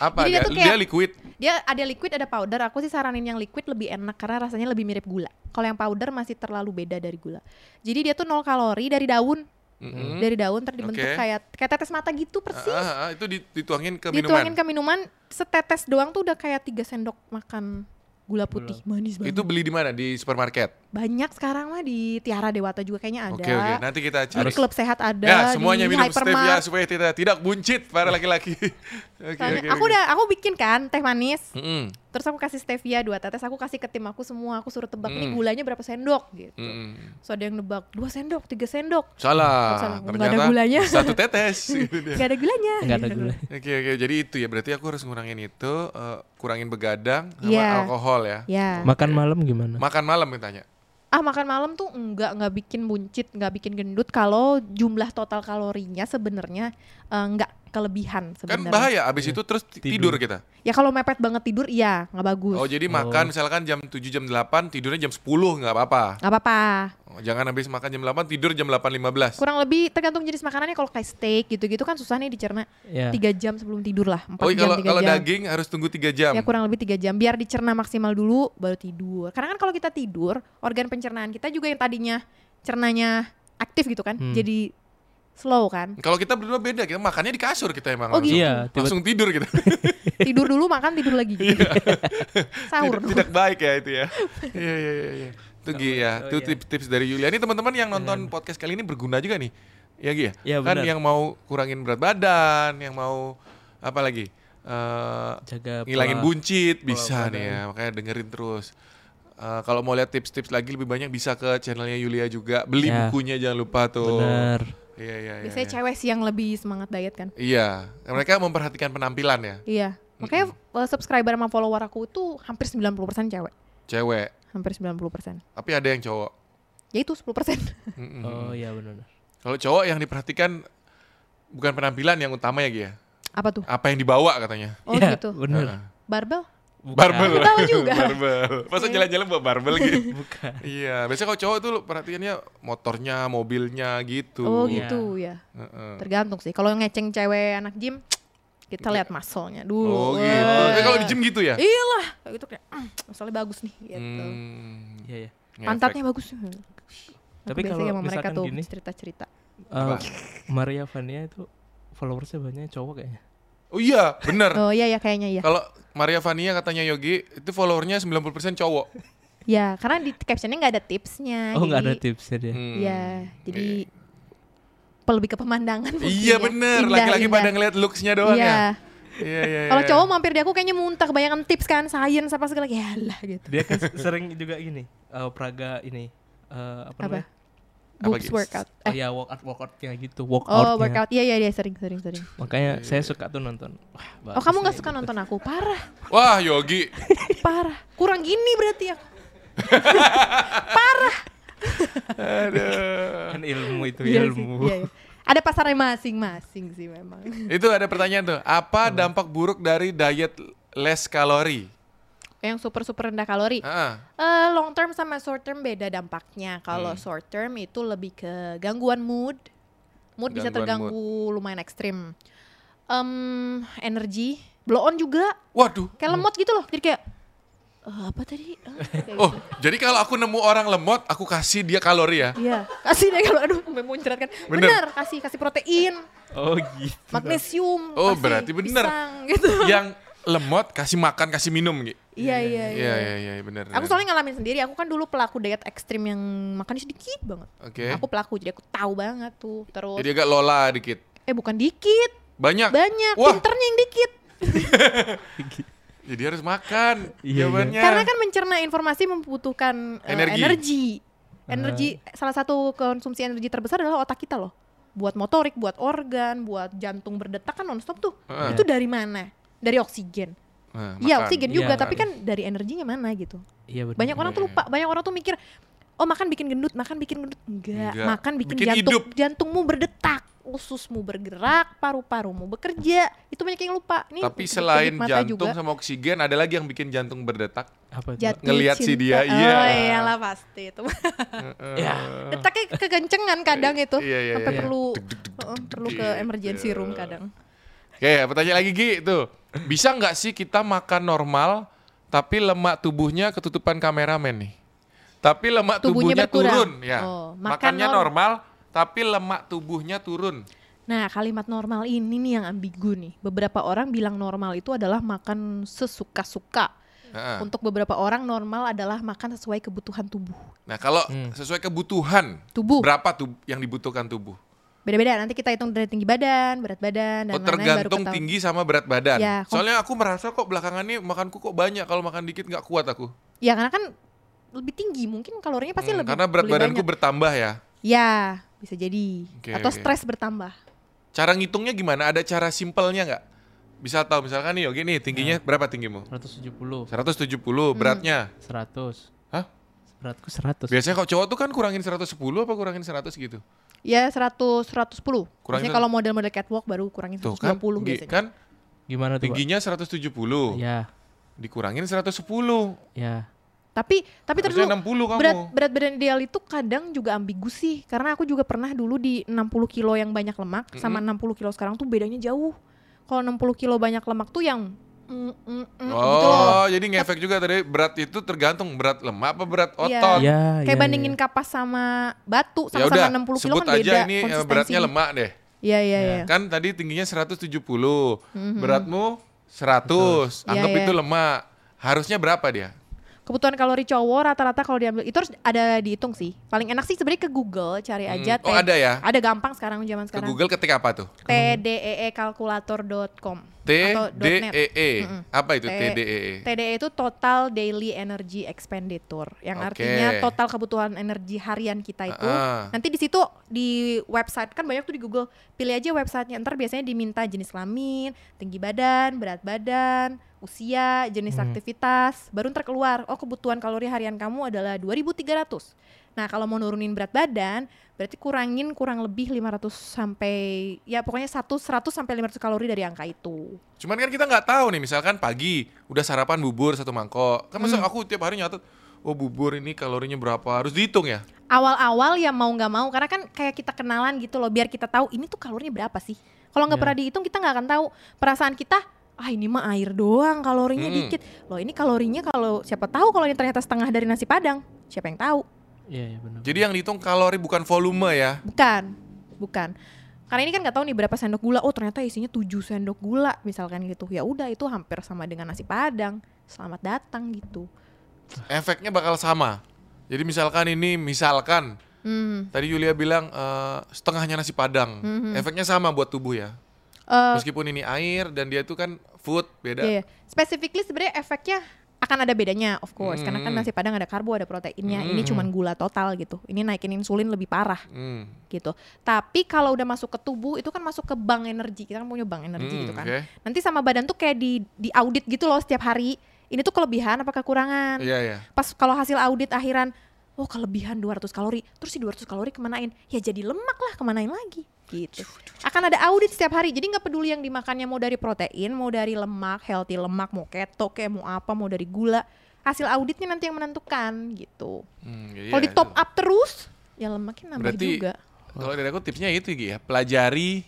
S1: Apa
S2: Jadi dia
S1: dia?
S2: tuh
S1: Dia,
S2: kayak-
S1: liquid.
S2: Dia ada liquid ada powder. Aku sih saranin yang liquid lebih enak karena rasanya lebih mirip gula. Kalau yang powder masih terlalu beda dari gula. Jadi dia tuh nol kalori dari daun,
S1: Mm-mm.
S2: dari daun terbentuk
S1: Hmm? Oke.
S2: kayak kayak tetes mata gitu persis.
S1: Ah, ah, ah, itu di- dituangin ke
S2: Dituangin
S1: minuman.
S2: ke minuman setetes doang tuh udah kayak tiga sendok makan gula putih manis banget.
S1: Itu beli di mana? Di supermarket.
S2: Banyak sekarang mah di Tiara Dewata juga kayaknya ada.
S1: Oke oke, nanti kita
S2: Di
S1: cari.
S2: klub sehat ada.
S1: Ya, semuanya
S2: di kan.
S1: minum stevia
S2: hypermart.
S1: supaya tidak tidak buncit para laki-laki. <laughs> Oke
S2: Soalnya-
S1: oke,
S2: aku
S1: oke.
S2: udah aku bikin kan teh manis.
S1: Mm-mm,
S2: Terus aku kasih stevia dua tetes, aku kasih ke tim aku semua, aku suruh tebak
S1: Mm.
S2: nih gulanya berapa sendok gitu.
S1: mm-mm.
S2: Terus ada yang nebak dua sendok, tiga sendok, Oh, salah.
S1: Salah.
S2: Nggak ada
S1: Ternyata
S2: gulanya.
S1: satu tetes
S2: <laughs>
S1: <laughs> gitu dia.
S2: nggak ada gulanya.
S3: Enggak ada gula.
S1: Oke oke, jadi itu ya berarti aku harus ngurangin itu, eh, kurangin begadang sama
S2: Iya.
S1: alkohol ya.
S2: Ya.
S3: Makan malam gimana?
S1: Makan malam ditanya.
S2: ah makan malam tuh enggak nggak bikin buncit, nggak bikin gendut kalau jumlah total kalorinya sebenarnya eh, nggak kelebihan
S1: Kan
S2: sebenarnya.
S1: bahaya abis itu terus ti- tidur,
S3: Iya. Tidur.
S1: kita.
S2: Ya kalau mepet banget tidur iya nggak bagus.
S1: Oh, jadi
S3: Oh.
S1: makan misalkan jam 7 jam 8, tidurnya jam 10 nggak apa-apa.
S2: nggak apa-apa.
S1: Oh, Jangan habis makan jam 8 tidur jam 8.15.
S2: Kurang lebih tergantung jenis makanannya kalau kayak steak gitu-gitu kan susah nih dicerna.
S3: Ya.
S2: Tiga jam sebelum tidur lah, empat
S1: Oh,
S2: jam,
S1: kalau
S2: tiga
S1: kalau
S2: jam.
S1: daging harus tunggu 3 jam.
S2: Ya kurang lebih tiga jam biar dicerna maksimal dulu baru tidur. Karena kan kalau kita tidur, organ pencernaan kita juga yang tadinya cernanya aktif gitu kan.
S3: Hmm.
S2: Jadi slow kan.
S1: Kalau kita berdua beda, kita makannya di kasur kita emang
S2: Oh,
S1: langsung.
S2: gitu.
S3: Iya, tiba-
S1: Langsung tidur kita.
S2: Tidur dulu makan, tidur
S1: <laughs>
S2: lagi gitu. Sahur.
S1: Iya. tidak, tidak baik ya itu
S3: <laughs>
S1: ya. Iya iya iya iya. Itu Gi ya.
S3: Oh,
S1: Itu
S3: iya.
S1: tips-tips dari Yulia. Ini teman-teman yang nonton podcast kali ini berguna juga nih. Ya Gi ya.
S3: Iya,
S1: kan
S3: benar.
S1: yang mau kurangin berat badan, yang mau apa lagi? Eh,
S3: Jaga
S1: ngilangin
S3: pola-
S1: buncit bisa
S3: badan.
S1: nih ya. Makanya dengerin terus. Eh, kalau mau lihat tips-tips lagi lebih banyak bisa ke channelnya Yulia juga. Beli
S3: Ya.
S1: bukunya jangan lupa tuh.
S3: Bener.
S1: Iya iya iya.
S2: Biasanya
S1: iya.
S2: cewek sih yang lebih semangat diet kan.
S1: Iya, mereka memperhatikan penampilan ya.
S2: Iya. Makanya eh, subscriber sama follower aku tuh hampir 90% cewek.
S1: Cewek,
S2: Hampir 90%.
S1: tapi ada yang cowok.
S2: Ya itu
S3: <laughs>
S2: 10%.
S1: Mm-mm.
S3: Oh iya benar.
S1: Kalau cowok yang diperhatikan bukan penampilan yang utama ya Gia.
S2: Apa tuh?
S1: Apa yang dibawa katanya.
S2: Oh
S3: Iya,
S2: gitu.
S3: Bener.
S1: Heeh.
S2: Barbel?
S1: Nah, Barbel.
S2: Aku tahu juga.
S1: <laughs>
S2: Iya.
S1: barbel. Masa jalan-jalan bawa barbel gitu.
S3: Bukan.
S1: iya, biasanya kalau cowok tuh lu perhatiannya motornya, mobilnya gitu.
S2: Oh
S3: Iya.
S2: gitu ya.
S1: Heeh.
S2: Tergantung sih. Kalau ngeceng cewek anak gym Kita lihat muscle-nya
S1: Gitu. Oh
S2: dulu.
S1: gitu.
S2: Wah.
S1: Eh, kalau di gym gitu ya?
S2: Iya lah. Kayak Gitu kayak, "Mm, muscle-nya bagus nih gitu.
S1: Hmm,
S3: Iya, iya.
S1: ngefek.
S2: Pantatnya bagus. Hmm.
S3: Tapi
S2: biasanya
S3: kalau
S2: sama mereka
S3: misalkan
S2: tuh
S3: gini-
S2: cerita-cerita.
S1: Apa?
S3: Eh, Maria Vania itu followersnya banyak ya, cowok kayaknya.
S1: Oh iya, bener.
S2: Oh iya ya kayaknya iya.
S1: Kalau Maria Vania katanya Yogi, itu followernya 90% cowok.
S2: Ya, karena di captionnya nggak ada
S1: Nah,
S2: tipsnya.
S3: Oh nggak ada
S2: jadi-
S3: tipsnya dia.
S1: Hmm.
S2: Ya, jadi pe- lebih ke pemandangan mungkin
S1: Iya
S2: ya.
S1: bener,
S2: Indah,
S1: laki-laki
S2: indah.
S1: pada ngeliat looks-nya doang
S2: Iya.
S1: ya. Iya, iya, iya.
S2: Kalau cowok mampir di aku kayaknya muntah kebanyakan tips kan, science apa segala ya lah gitu.
S3: Dia kan sering juga gini, eh, Praga ini eh, apa
S2: Apa?
S3: namanya?
S2: Boobs
S1: gitu?
S2: workout.
S3: Oh
S2: Eh,
S3: ya workout workoutnya gitu, workoutnya.
S2: oh, workout. Iya iya iya sering sering sering.
S3: Makanya saya suka tuh nonton. Wah,
S2: Oh,
S3: bagus
S2: kamu nggak
S3: nih.
S2: suka nonton aku? Parah,
S1: Wah Yogi,
S2: parah. Kurang gini berarti aku.
S1: aduh.
S3: <laughs> kan ilmu itu
S2: Iya sih,
S3: ilmu.
S2: iya, iya. Ada pasarnya masing-masing sih memang.
S1: Itu ada pertanyaan tuh, apa dampak buruk dari diet less kalori?
S2: Yang super super rendah kalori.
S1: Heeh.
S2: Eh, long term sama short term beda dampaknya. Kalau short term itu lebih ke gangguan mood. Mood bisa
S1: Gangguan
S2: terganggu lumayan ekstrim. Em, energi, blow on juga.
S1: Waduh.
S2: Kayak lemot gitu loh. Jadi kayak "Eh, apa tadi? Eh, kayak
S1: Oh,
S2: gitu.
S1: jadi kalau aku nemu orang lemot, aku kasih dia kalori
S2: <laughs>
S1: ya.
S2: Iya, kasih deh kalau aduh sampai muncrat kan.
S1: Bener.
S2: Bener. kasih kasih protein,
S3: <laughs> Oh gitu.
S2: magnesium,
S1: Oh,
S2: kasih
S1: berarti bener.
S2: pisang, gitu.
S1: Yang lemot kasih makan, kasih minum gitu.
S2: Iya, iya, iya.
S1: Iya, iya, iya, benar.
S2: Aku soalnya ngalamin sendiri, aku kan dulu pelaku diet ekstrim yang makannya sedikit banget.
S1: Oke.
S2: Aku pelaku, jadi aku tahu banget tuh. Terus
S1: Eh? Jadi agak lola dikit.
S2: Eh bukan dikit,
S1: Banyak.
S2: banyak.
S1: Wah,
S2: Pinternya yang dikit.
S1: jadi harus makan.
S3: Iya,
S1: Jawabannya.
S2: Karena kan mencerna informasi membutuhkan eh,
S1: Energi. Ah.
S2: energi. Energi salah satu konsumsi energi terbesar adalah otak kita loh. Buat motorik, buat organ, buat jantung berdetak kan nonstop tuh.
S1: Heeh.
S2: Itu dari mana? Dari oksigen.
S1: Nah,
S2: Iya
S1: Ah. makan.
S2: oksigen
S3: Iya,
S2: juga,
S3: makan.
S2: tapi kan dari energinya mana gitu.
S3: Iya benar.
S2: Banyak orang tuh
S1: Iya.
S2: lupa, banyak orang tuh mikir, oh makan bikin gendut, makan bikin gendut. Enggak,
S1: Enggak.
S2: makan bikin,
S1: Bikin
S2: jantung,
S1: hidup.
S2: jantungmu berdetak, ususmu bergerak, paru-parumu bekerja. Itu banyak yang lupa. Ini
S1: Tapi
S2: sedikit
S1: selain
S2: mata
S1: jantung sama oksigen, ada lagi yang bikin jantung berdetak.
S3: Apa itu?
S2: Jatuh
S1: Ngeliat si
S2: cinta.
S1: dia,
S2: Oh,
S1: iya.
S2: iyalah pasti
S1: <laughs>
S2: itu. <laughs>
S3: Ya.
S2: Detaknya kekencengan kadang itu.
S1: Iya, iya,
S2: Iya. Sampai
S1: iya.
S2: perlu
S1: Deg, deg, deg,
S2: heeh,
S1: deg,
S2: perlu
S1: deg,
S2: ke
S1: gitu.
S2: emergency room kadang.
S1: Oke, pertanyaan lagi Gi tuh. Bisa nggak sih kita makan normal tapi lemak tubuhnya ketutupan kameramen nih? Tapi lemak tubuhnya,
S2: Tubuhnya berkurang.
S1: turun ya.
S2: Oh, makan
S1: Makannya
S2: norm-
S1: normal tapi lemak tubuhnya turun.
S2: Nah, kalimat normal ini nih yang ambigu nih. Beberapa orang bilang normal itu adalah makan sesuka-suka.
S1: Heeh.
S2: Untuk beberapa orang normal adalah makan sesuai kebutuhan tubuh.
S1: Nah, kalau sesuai kebutuhan,
S2: Tubuh.
S1: berapa tuh yang dibutuhkan tubuh?
S2: Beda-beda nanti kita hitung dari tinggi badan, berat badan dan
S1: Oh,
S2: lain-lain
S1: tergantung
S2: Nah, ketahuan.
S1: tinggi sama berat badan.
S2: Ya, kom-
S1: Soalnya aku merasa kok belakangan ini makanku kok banyak. Kalau makan dikit nggak kuat aku.
S2: Ya karena kan lebih tinggi mungkin kalorinya pasti
S1: Hmm,
S2: lebih
S1: karena berat
S2: lebih
S1: badanku
S2: banyak.
S1: bertambah ya.
S2: Ya, bisa jadi.
S1: Oke,
S2: Atau
S1: oke.
S2: stres bertambah.
S1: Cara ngitungnya gimana? Ada cara simpelnya nggak? Bisa tahu misalkan nih Yogi nih tingginya
S2: Nah.
S1: berapa tinggimu?
S3: 170,
S1: 170
S2: Hmm.
S1: beratnya.
S3: 100.
S1: Hah?
S3: Beratku 100.
S1: Biasanya kalau cowok tuh kan kurangin 110 apa kurangin 100 gitu.
S2: Ya 100 110.
S1: Kurangin
S2: Biasanya
S1: satu-
S2: kalau model-model catwalk baru kurangin
S1: Tuh kan, Gi,
S2: 120 biasanya. Iya.
S1: kan
S3: Gimana tuh? Pak?
S1: tingginya 170
S3: Ya,
S1: dikurangin 110.
S3: ya.
S2: Tapi tapi terus
S1: Harusnya 60 kamu.
S2: berat Mm, berat badan ideal itu kadang juga ambigu sih karena aku juga pernah dulu di 60 kilo yang banyak lemak sama 60 kilo sekarang tuh bedanya jauh. Kalau 60 kilo banyak lemak tuh yang mm, mm, mm, gitu loh.
S1: Oh, jadi ngefek juga tadi berat itu tergantung berat lemak apa berat
S2: Iya.
S1: otot.
S3: Ya,
S2: Kayak
S3: ya,
S2: bandingin
S3: ya.
S2: kapas sama batu
S1: Ya
S2: sama-sama
S1: udah,
S2: 60 kilo
S1: sebut
S2: kan
S1: aja
S2: beda
S1: ini eh,
S2: konsistensinya.
S1: beratnya lemak deh.
S2: Iya iya iya. Mm-hmm.
S1: Kan tadi tingginya 170. Beratmu 100. Anggap
S2: Iya,
S1: itu
S2: iya.
S1: lemak. Harusnya berapa dia?
S2: Kebutuhan kalori cowok rata-rata kalau diambil itu harus ada dihitung sih. Paling enak sih sebenarnya ke Google cari aja.
S1: Hmm. Oh,
S2: T-
S1: ada ya?
S2: Ada gampang sekarang
S1: Ke
S2: zaman sekarang. E
S1: Google ketik apa tuh?
S2: tdeekalkulator.com
S1: T
S2: atau
S1: D E E.
S2: Mm-mm.
S1: Apa itu
S2: T-
S1: T D E E?
S2: TDE itu total daily energy expenditure yang
S1: Oke.
S2: artinya total kebutuhan energi harian kita itu
S1: Ah.
S2: nanti di situ di website kan banyak tuh di Google pilih aja websitenya ntar biasanya diminta jenis kelamin tinggi badan berat badan usia jenis aktivitas baru ntar keluar oh kebutuhan kalori harian kamu adalah 2300 nah kalau mau nurunin berat badan berarti kurangin kurang lebih 500 sampai ya pokoknya 1 100 sampai 500 kalori dari angka itu
S1: Cuman kan kita nggak tahu nih misalkan pagi udah sarapan bubur satu mangkok. Kan
S2: Mm.
S1: masa aku tiap hari nyatet oh bubur ini kalorinya berapa? Harus dihitung ya?
S2: awal-awal ya mau nggak mau karena kan kayak kita kenalan gitu loh biar kita tahu ini tuh kalorinya berapa sih Kalau nggak
S3: Iya.
S2: pernah dihitung kita nggak akan tahu perasaan kita. Ah ini mah air doang, kalorinya
S1: Mm-mm.
S2: dikit. Loh ini kalorinya kalau siapa tahu kalau ini ternyata setengah dari nasi padang, siapa yang tahu?
S3: Iya, iya benar.
S1: Jadi yang dihitung kalori bukan volume ya.
S2: Bukan, bukan. Karena ini kan nggak tahu nih berapa sendok gula. Oh ternyata isinya 7 sendok gula misalkan gitu. Ya udah itu hampir sama dengan nasi padang. Selamat datang gitu.
S1: Efeknya bakal sama. Jadi misalkan ini misalkan
S2: Hmm.
S1: tadi Yulia bilang eh, setengahnya nasi padang.
S2: Mhm.
S1: Efeknya sama buat tubuh ya.
S2: Eh,
S1: Meskipun ini air dan dia itu kan food beda.
S2: Iya, iya. Specifically sebenarnya efeknya akan ada bedanya, of course. Karena kan
S1: Mm.
S2: nasi padang ada karbo, ada proteinnya. Ini
S1: Mm.
S2: cuman gula total gitu. Ini naikin insulin lebih parah
S1: Hmm.
S2: gitu. Tapi kalau udah masuk ke tubuh itu kan masuk ke bank energi. Kita kan punya bank energi
S1: Hmm,
S2: gitu kan.
S1: oke.
S2: Nanti sama badan tuh kayak di di audit gitu loh setiap hari. Ini tuh kelebihan apa kekurangan?
S1: Iya ya.
S2: Pas kalau hasil audit akhiran, oh kelebihan 200 kalori. Terus si 200 kalori kemanain? Ya jadi lemak lah, kemanain lagi gitu. Akan ada audit setiap hari. Jadi nggak peduli yang dimakannya mau dari protein, mau dari lemak, healthy lemak, mau keto kayak mau apa, mau dari gula. Hasil auditnya nanti yang menentukan gitu.
S1: Hmm, iya,
S2: Kalau di top up terus, ya lemaknya nambah
S1: Berarti-
S2: juga.
S1: Kalau dari aku tipsnya itu Gi ya, pelajari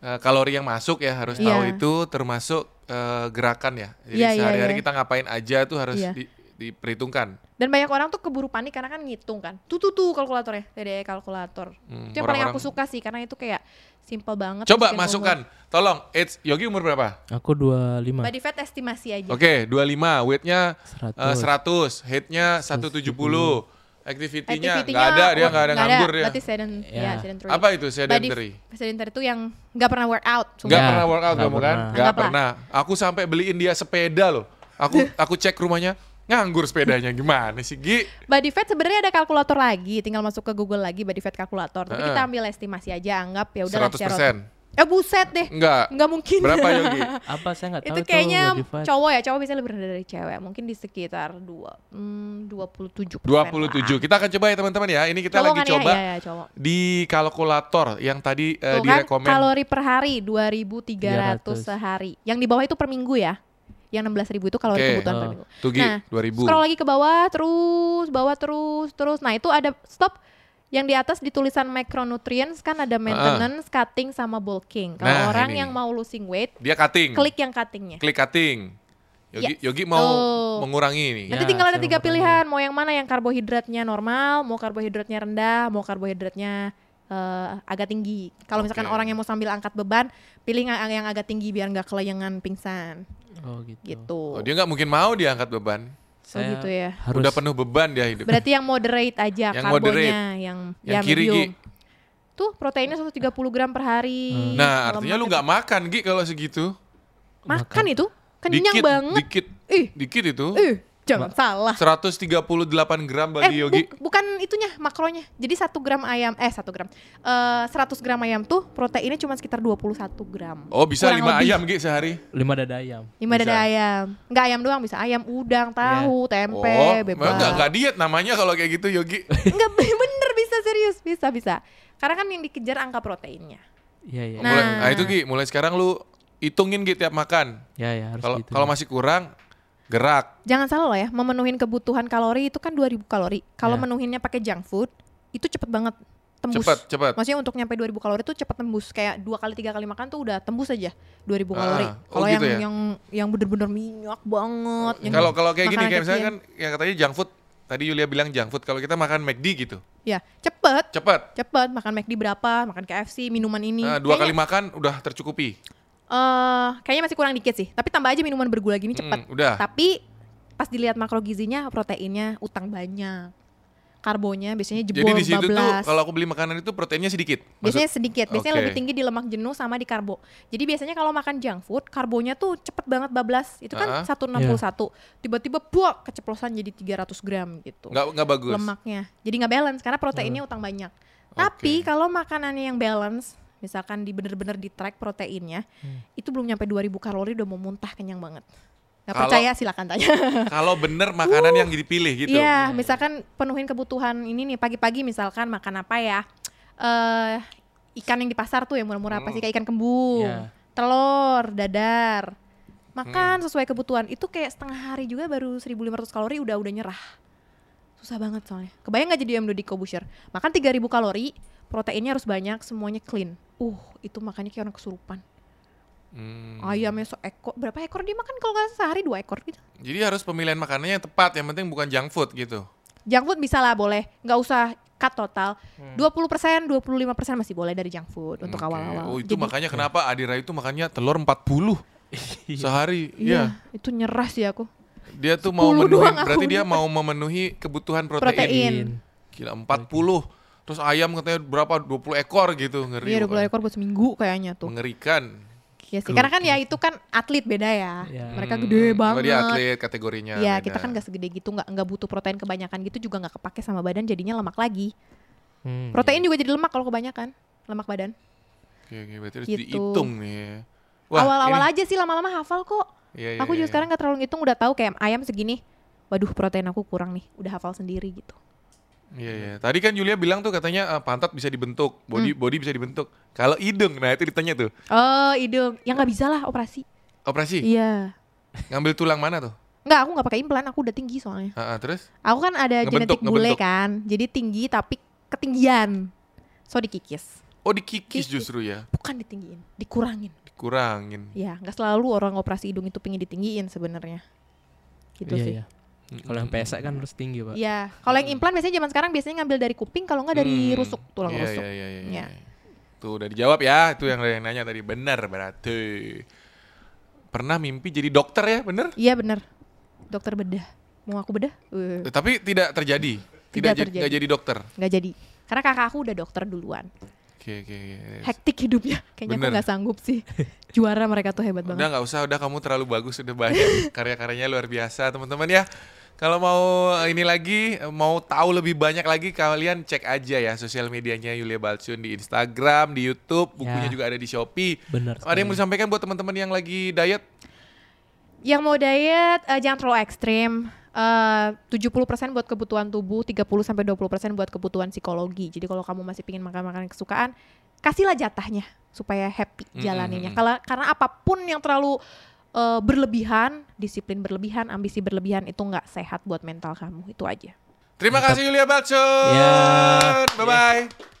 S1: eh, kalori yang masuk ya harus tahu
S2: Iya.
S1: itu termasuk eh, gerakan ya. Jadi
S2: Iya, iya,
S1: sehari-hari
S2: iya.
S1: kita ngapain aja tuh harus
S2: Iya.
S1: di- diperhitungkan.
S2: Dan banyak orang tuh keburu panik karena kan ngitung kan. Tuh tuh tuh kalkulatornya, TDE kalkulator.
S1: Hmm,
S2: Itu yang paling aku
S1: orang-orang-
S2: suka sih karena itu kayak simple banget.
S1: Coba
S2: terus dia
S1: masukkan, tolong. It's Yogi umur berapa?
S2: Iya.
S3: Aku 25.
S2: ngomong. Body fat estimasi aja.
S1: Oke, 25, weightnya
S3: 100.
S1: eh, 100, headnya 170, activity-nya nggak
S2: Activity-nya,
S1: ada, dia
S2: oh,
S1: nggak ada nganggur dia.
S2: Berarti sedent-
S3: Iya.
S2: ya, sedentary.
S1: Apa itu
S2: Body-
S1: sedentary? Iya.
S2: sedentary itu yang nggak pernah workout.
S1: Nggak
S2: sumpah.
S3: Nggak,
S1: pernah workout
S3: Ya. nggak
S1: kamu kan?
S3: pernah.
S1: Nggak
S2: Anggaplah.
S1: pernah. Aku sampai beliin dia sepeda loh. Aku aku cek rumahnya nganggur sepedanya gimana sih Gi?
S2: Body fat sebenarnya ada kalkulator lagi, tinggal masuk ke Google lagi body fat kalkulator. Tapi
S1: Heeh.
S2: kita ambil estimasi aja, anggap ya udah
S1: 100%.
S2: Eh buset deh.
S1: Enggak.
S2: Nggak mungkin.
S1: Berapa
S2: <laughs>
S1: Yogi?
S3: Apa saya nggak tahu
S2: itu kayaknya
S3: body fat.
S2: cowok ya, cowok biasanya lebih rendah dari cewek. Mungkin di sekitar 2 hmm, 27
S1: 27. Kita akan coba ya teman-teman ya. Ini kita lagi coba
S2: ya, ya, ya, cowok.
S1: di kalkulator yang tadi eh,
S2: Tuh kan
S1: direkomen.
S2: kalori per hari 2300 sehari. Yang di bawah itu per minggu ya. Yang 16.000 itu kalori
S1: Oke. eh,
S2: kebutuhan per
S3: Oh.
S2: minggu.
S1: Tuh Gi,
S2: Nah,
S1: 2000.
S2: Scroll lagi ke bawah terus, bawah terus, terus. Nah, itu ada stop yang di atas di tulisan micronutrients kan ada maintenance, cutting sama bulking. Kalau
S1: Nah,
S2: orang
S1: ini. Hmm.
S2: yang mau losing weight,
S1: Dia cutting.
S2: klik yang cuttingnya.
S1: Klik cutting. Yogi
S2: Yes.
S1: Yogi mau
S2: Tuh.
S1: mengurangi ini.
S2: Nanti
S3: Ya,
S2: tinggal ada
S3: saya
S2: tiga
S3: mau tanya.
S2: pilihan, mau yang mana yang karbohidratnya normal, mau karbohidratnya rendah, mau karbohidratnya eh, agak tinggi. Kalau misalkan
S1: Oke.
S2: orang yang mau sambil angkat beban, pilih yang, yang agak tinggi biar nggak kelayangan pingsan
S3: Oh gitu.
S2: gitu.
S1: Oh, dia nggak mungkin mau dia angkat beban.
S2: Oh, gitu ya.
S3: Harus
S1: Udah penuh beban dia hidup.
S2: Berarti yang moderate aja
S1: gitu. Yang
S2: karbonya,
S1: moderate.
S2: yang
S1: Yang
S2: ya,
S1: kiri,
S2: medium. Tuh proteinnya 130 gram per hari.
S1: Nah, artinya lu
S2: Lemaknya-
S1: nggak makan Gi kalau segitu.
S2: makan itu kenyang
S1: dikit,
S2: banget.
S1: Dikit.
S2: Ih,
S1: Dikit itu.
S2: ih, jangan salah.
S1: 138 gram
S2: Eh,
S1: bagi
S2: bu-
S1: Yogi.
S2: bukan itunya makronya. Jadi satu gram ayam eh satu gram. Eh 100 gram ayam tuh proteinnya cuma sekitar 21 gram.
S1: Oh, bisa
S2: Kurang
S1: lima
S2: lebih.
S1: ayam Gi sehari.
S3: 5 dada ayam.
S2: 5
S1: Bisa.
S2: dada
S1: Iya.
S2: ayam. Enggak ayam doang bisa ayam, udang, tahu, tempe,
S1: oh,
S2: bebas.
S1: enggak, enggak diet namanya kalau kayak gitu Yogi.
S2: <laughs> Enggak, bener bisa serius, bisa bisa. Karena kan yang dikejar angka proteinnya.
S3: Iya iya.
S2: Nah.
S1: Mulai, nah itu Gi, mulai sekarang lu hitungin Gi tiap makan.
S3: Ya ya harus
S1: Kalau
S3: gitu.
S1: kalau masih kurang gerak.
S2: Jangan salah loh ya, memenuhin kebutuhan kalori itu kan 2000 kalori. Kalau
S1: Iya.
S3: Ya.
S2: menuhinnya pakai junk food, itu cepet banget tembus.
S1: Cepat, cepat.
S2: Maksudnya untuk nyampe 2000 kalori itu cepet tembus kayak dua kali tiga kali makan tuh udah tembus aja 2000
S1: Ah,
S2: kalori.
S1: oh
S2: Kalau yang,
S1: gitu ya?
S2: yang yang bener-bener minyak banget. yang
S1: Kalau kalau kayak gini
S2: makanan
S1: kayak misalnya
S2: kekinian.
S1: kan yang katanya junk food. Tadi Yulia bilang junk food. Kalau kita makan McD gitu.
S2: ya cepet
S1: Cepat.
S2: cepet makan McD berapa, makan KFC, minuman ini.
S1: Nah, dua kali
S2: kayaknya,
S1: makan udah tercukupi.
S2: eh, kayaknya masih kurang dikit sih, tapi tambah aja minuman bergula gini cepet.
S1: Mm, udah.
S2: Tapi pas dilihat makro gizinya, proteinnya utang banyak. Karbonya biasanya jebol
S1: Jadi di situ
S2: 15.
S1: tuh kalau aku beli makanan itu proteinnya sedikit.
S2: Biasanya sedikit, biasanya
S1: Oke.
S2: lebih tinggi di lemak jenuh sama di karbo. Jadi biasanya kalau makan junk food, karbonya tuh cepet banget bablas. Itu
S1: Ah.
S2: kan 161. Tiba-tiba buak keceplosan jadi 300 gram gitu.
S1: nggak nggak bagus.
S2: Lemaknya. Jadi nggak balance karena proteinnya utang banyak. Tapi
S1: Oke.
S2: kalau makanannya yang balance, misalkan di bener-bener di track proteinnya, itu belum nyampe 2000 kalori udah mau muntah kenyang banget. Gak
S1: Kalau-
S2: percaya silakan tanya.
S1: Kalau bener makanan yang dipilih gitu.
S2: Iya, misalkan penuhin kebutuhan ini nih pagi-pagi misalkan makan apa ya? Eh ikan yang di pasar tuh yang
S1: Oh.
S2: murah-murah apa sih kayak ikan kembung,
S3: <laughs> Iya.
S2: telur, dadar.
S1: Hmm.
S2: Makan sesuai kebutuhan. Itu kayak setengah hari juga baru 1500 kalori udah udah nyerah. Susah banget soalnya. Kebayang nggak jadi MDD Kobusher? Makan 3000 kalori, proteinnya harus banyak, semuanya clean. uh itu makannya kayak orang kesurupan
S1: Hmm.
S2: ayamnya seekor berapa ekor dia makan kalau nggak salah sehari dua ekor gitu
S1: Jadi harus pemilihan makanannya yang tepat, yang penting bukan junk food gitu.
S2: junk food bisa lah boleh nggak usah cut total 20% 25% masih boleh dari junk food untuk
S1: Hmm. Oke.
S2: awal-awal
S1: Oh, itu
S2: Jadi-
S1: makanya kenapa Adira itu makannya telur 40 sehari. Iya.
S2: iya itu nyerah sih aku
S1: Dia tuh mau
S2: 10
S1: memenuhi
S2: doang aku
S1: berarti dia
S2: makan.
S1: mau memenuhi kebutuhan protein.
S2: Protein.
S1: Gila 40. Terus ayam katanya berapa? 20 ekor gitu. Ngeri.
S2: iya
S1: pokoknya.
S2: 20 ekor buat seminggu kayaknya tuh
S1: Mengerikan.
S2: Iya sih, karena kan ya itu kan atlet beda ya.
S3: Iya.
S2: Mereka
S1: Hmm,
S2: gede
S1: kalau
S2: banget.
S1: gitu. Dia atlet kategorinya.
S2: Iya,
S1: beda.
S2: kita kan gak segede gitu, nggak nggak butuh protein kebanyakan gitu juga nggak kepake sama badan jadinya lemak lagi.
S3: Hmm,
S2: Protein juga jadi lemak kalau kebanyakan, lemak badan.
S1: Oke, oke, berarti harus
S2: Gitu.
S1: dihitung nih. ya.
S2: Awal-awal
S1: ini-
S2: aja sih lama-lama hafal kok.
S1: Iya, iya,
S2: aku
S1: iya.
S2: juga sekarang nggak terlalu ngitung udah tahu kayak ayam segini. Waduh, protein aku kurang nih, udah hafal sendiri gitu.
S1: Iya, iya. Tadi kan Julia bilang tuh katanya eh, pantat bisa dibentuk, body
S2: Hmm.
S1: body bisa dibentuk. Kalau hidung, nah itu ditanya tuh.
S2: Oh, hidung. Ya nggak bisa lah operasi.
S1: Operasi
S2: Iya.
S1: ngambil tulang mana tuh?
S2: Nggak, aku nggak pakai implan, aku udah tinggi soalnya.
S1: Ha-ha, terus?
S2: Aku kan ada
S1: Ngebentuk,
S2: genetik bule
S1: ngebentuk.
S2: kan, jadi tinggi tapi ketinggian. So dikikis.
S1: Oh dikikis
S2: Dikikis.
S1: justru ya,
S2: Bukan ditinggiin, dikurangin.
S1: dikurangin.
S2: Ya, nggak selalu orang operasi hidung itu pengen ditinggiin sebenarnya. Gitu
S3: iya,
S2: sih.
S3: iya. Kalau yang PSA kan harus tinggi, Pak.
S2: Iya, kalau yang implan biasanya zaman sekarang biasanya ngambil dari kuping kalau nggak Oh, dari
S1: Hmm.
S2: rusuk, tulang
S1: Iya,
S2: rusuk.
S1: Iya, iya, iya,
S2: Iya.
S1: iya. Tuh udah dijawab ya, itu yang yang nanya tadi benar berarti. Pernah mimpi jadi dokter ya, bener?
S2: Iya, bener Dokter bedah. Mau aku bedah? Eh,
S1: Eh, Tapi tidak terjadi. Tidak,
S2: Tidak
S1: jadi,
S2: terjadi.
S1: nggak jadi dokter.
S2: Nggak jadi. Karena kakak aku udah dokter duluan.
S1: Oke, oke, oke.
S2: Hektik hidupnya. Kayaknya aku
S1: Bener.
S2: nggak sanggup
S1: <laughs>
S2: sih. Juara mereka tuh hebat
S1: Udah
S2: banget.
S1: nggak usah, udah kamu terlalu bagus, udah
S3: <laughs>
S1: banyak karya-karyanya luar biasa, teman-teman ya. Kalau mau ini lagi, mau tahu lebih banyak lagi, kalian cek aja ya sosial medianya Yulia Balsun di Instagram, di YouTube, bukunya
S3: Ya.
S1: juga ada di Shopee.
S3: Benar.
S1: Ada yang mau
S3: sekali.
S1: disampaikan buat teman-teman yang lagi diet?
S2: Yang mau diet eh, jangan terlalu ekstrim. Eh, 70% buat kebutuhan tubuh, 30 sampai 20% buat kebutuhan psikologi. Jadi kalau kamu masih pingin makan makanan kesukaan, kasihlah jatahnya supaya happy
S1: Mm,
S2: jalaninnya.
S1: mm, mm.
S2: Kalau karena apapun yang terlalu eh, berlebihan, disiplin berlebihan, ambisi berlebihan itu nggak sehat buat mental kamu. Itu aja.
S1: Terima
S3: Mantap.
S1: kasih Yulia Balsun.
S3: Ya.
S1: Bye-bye.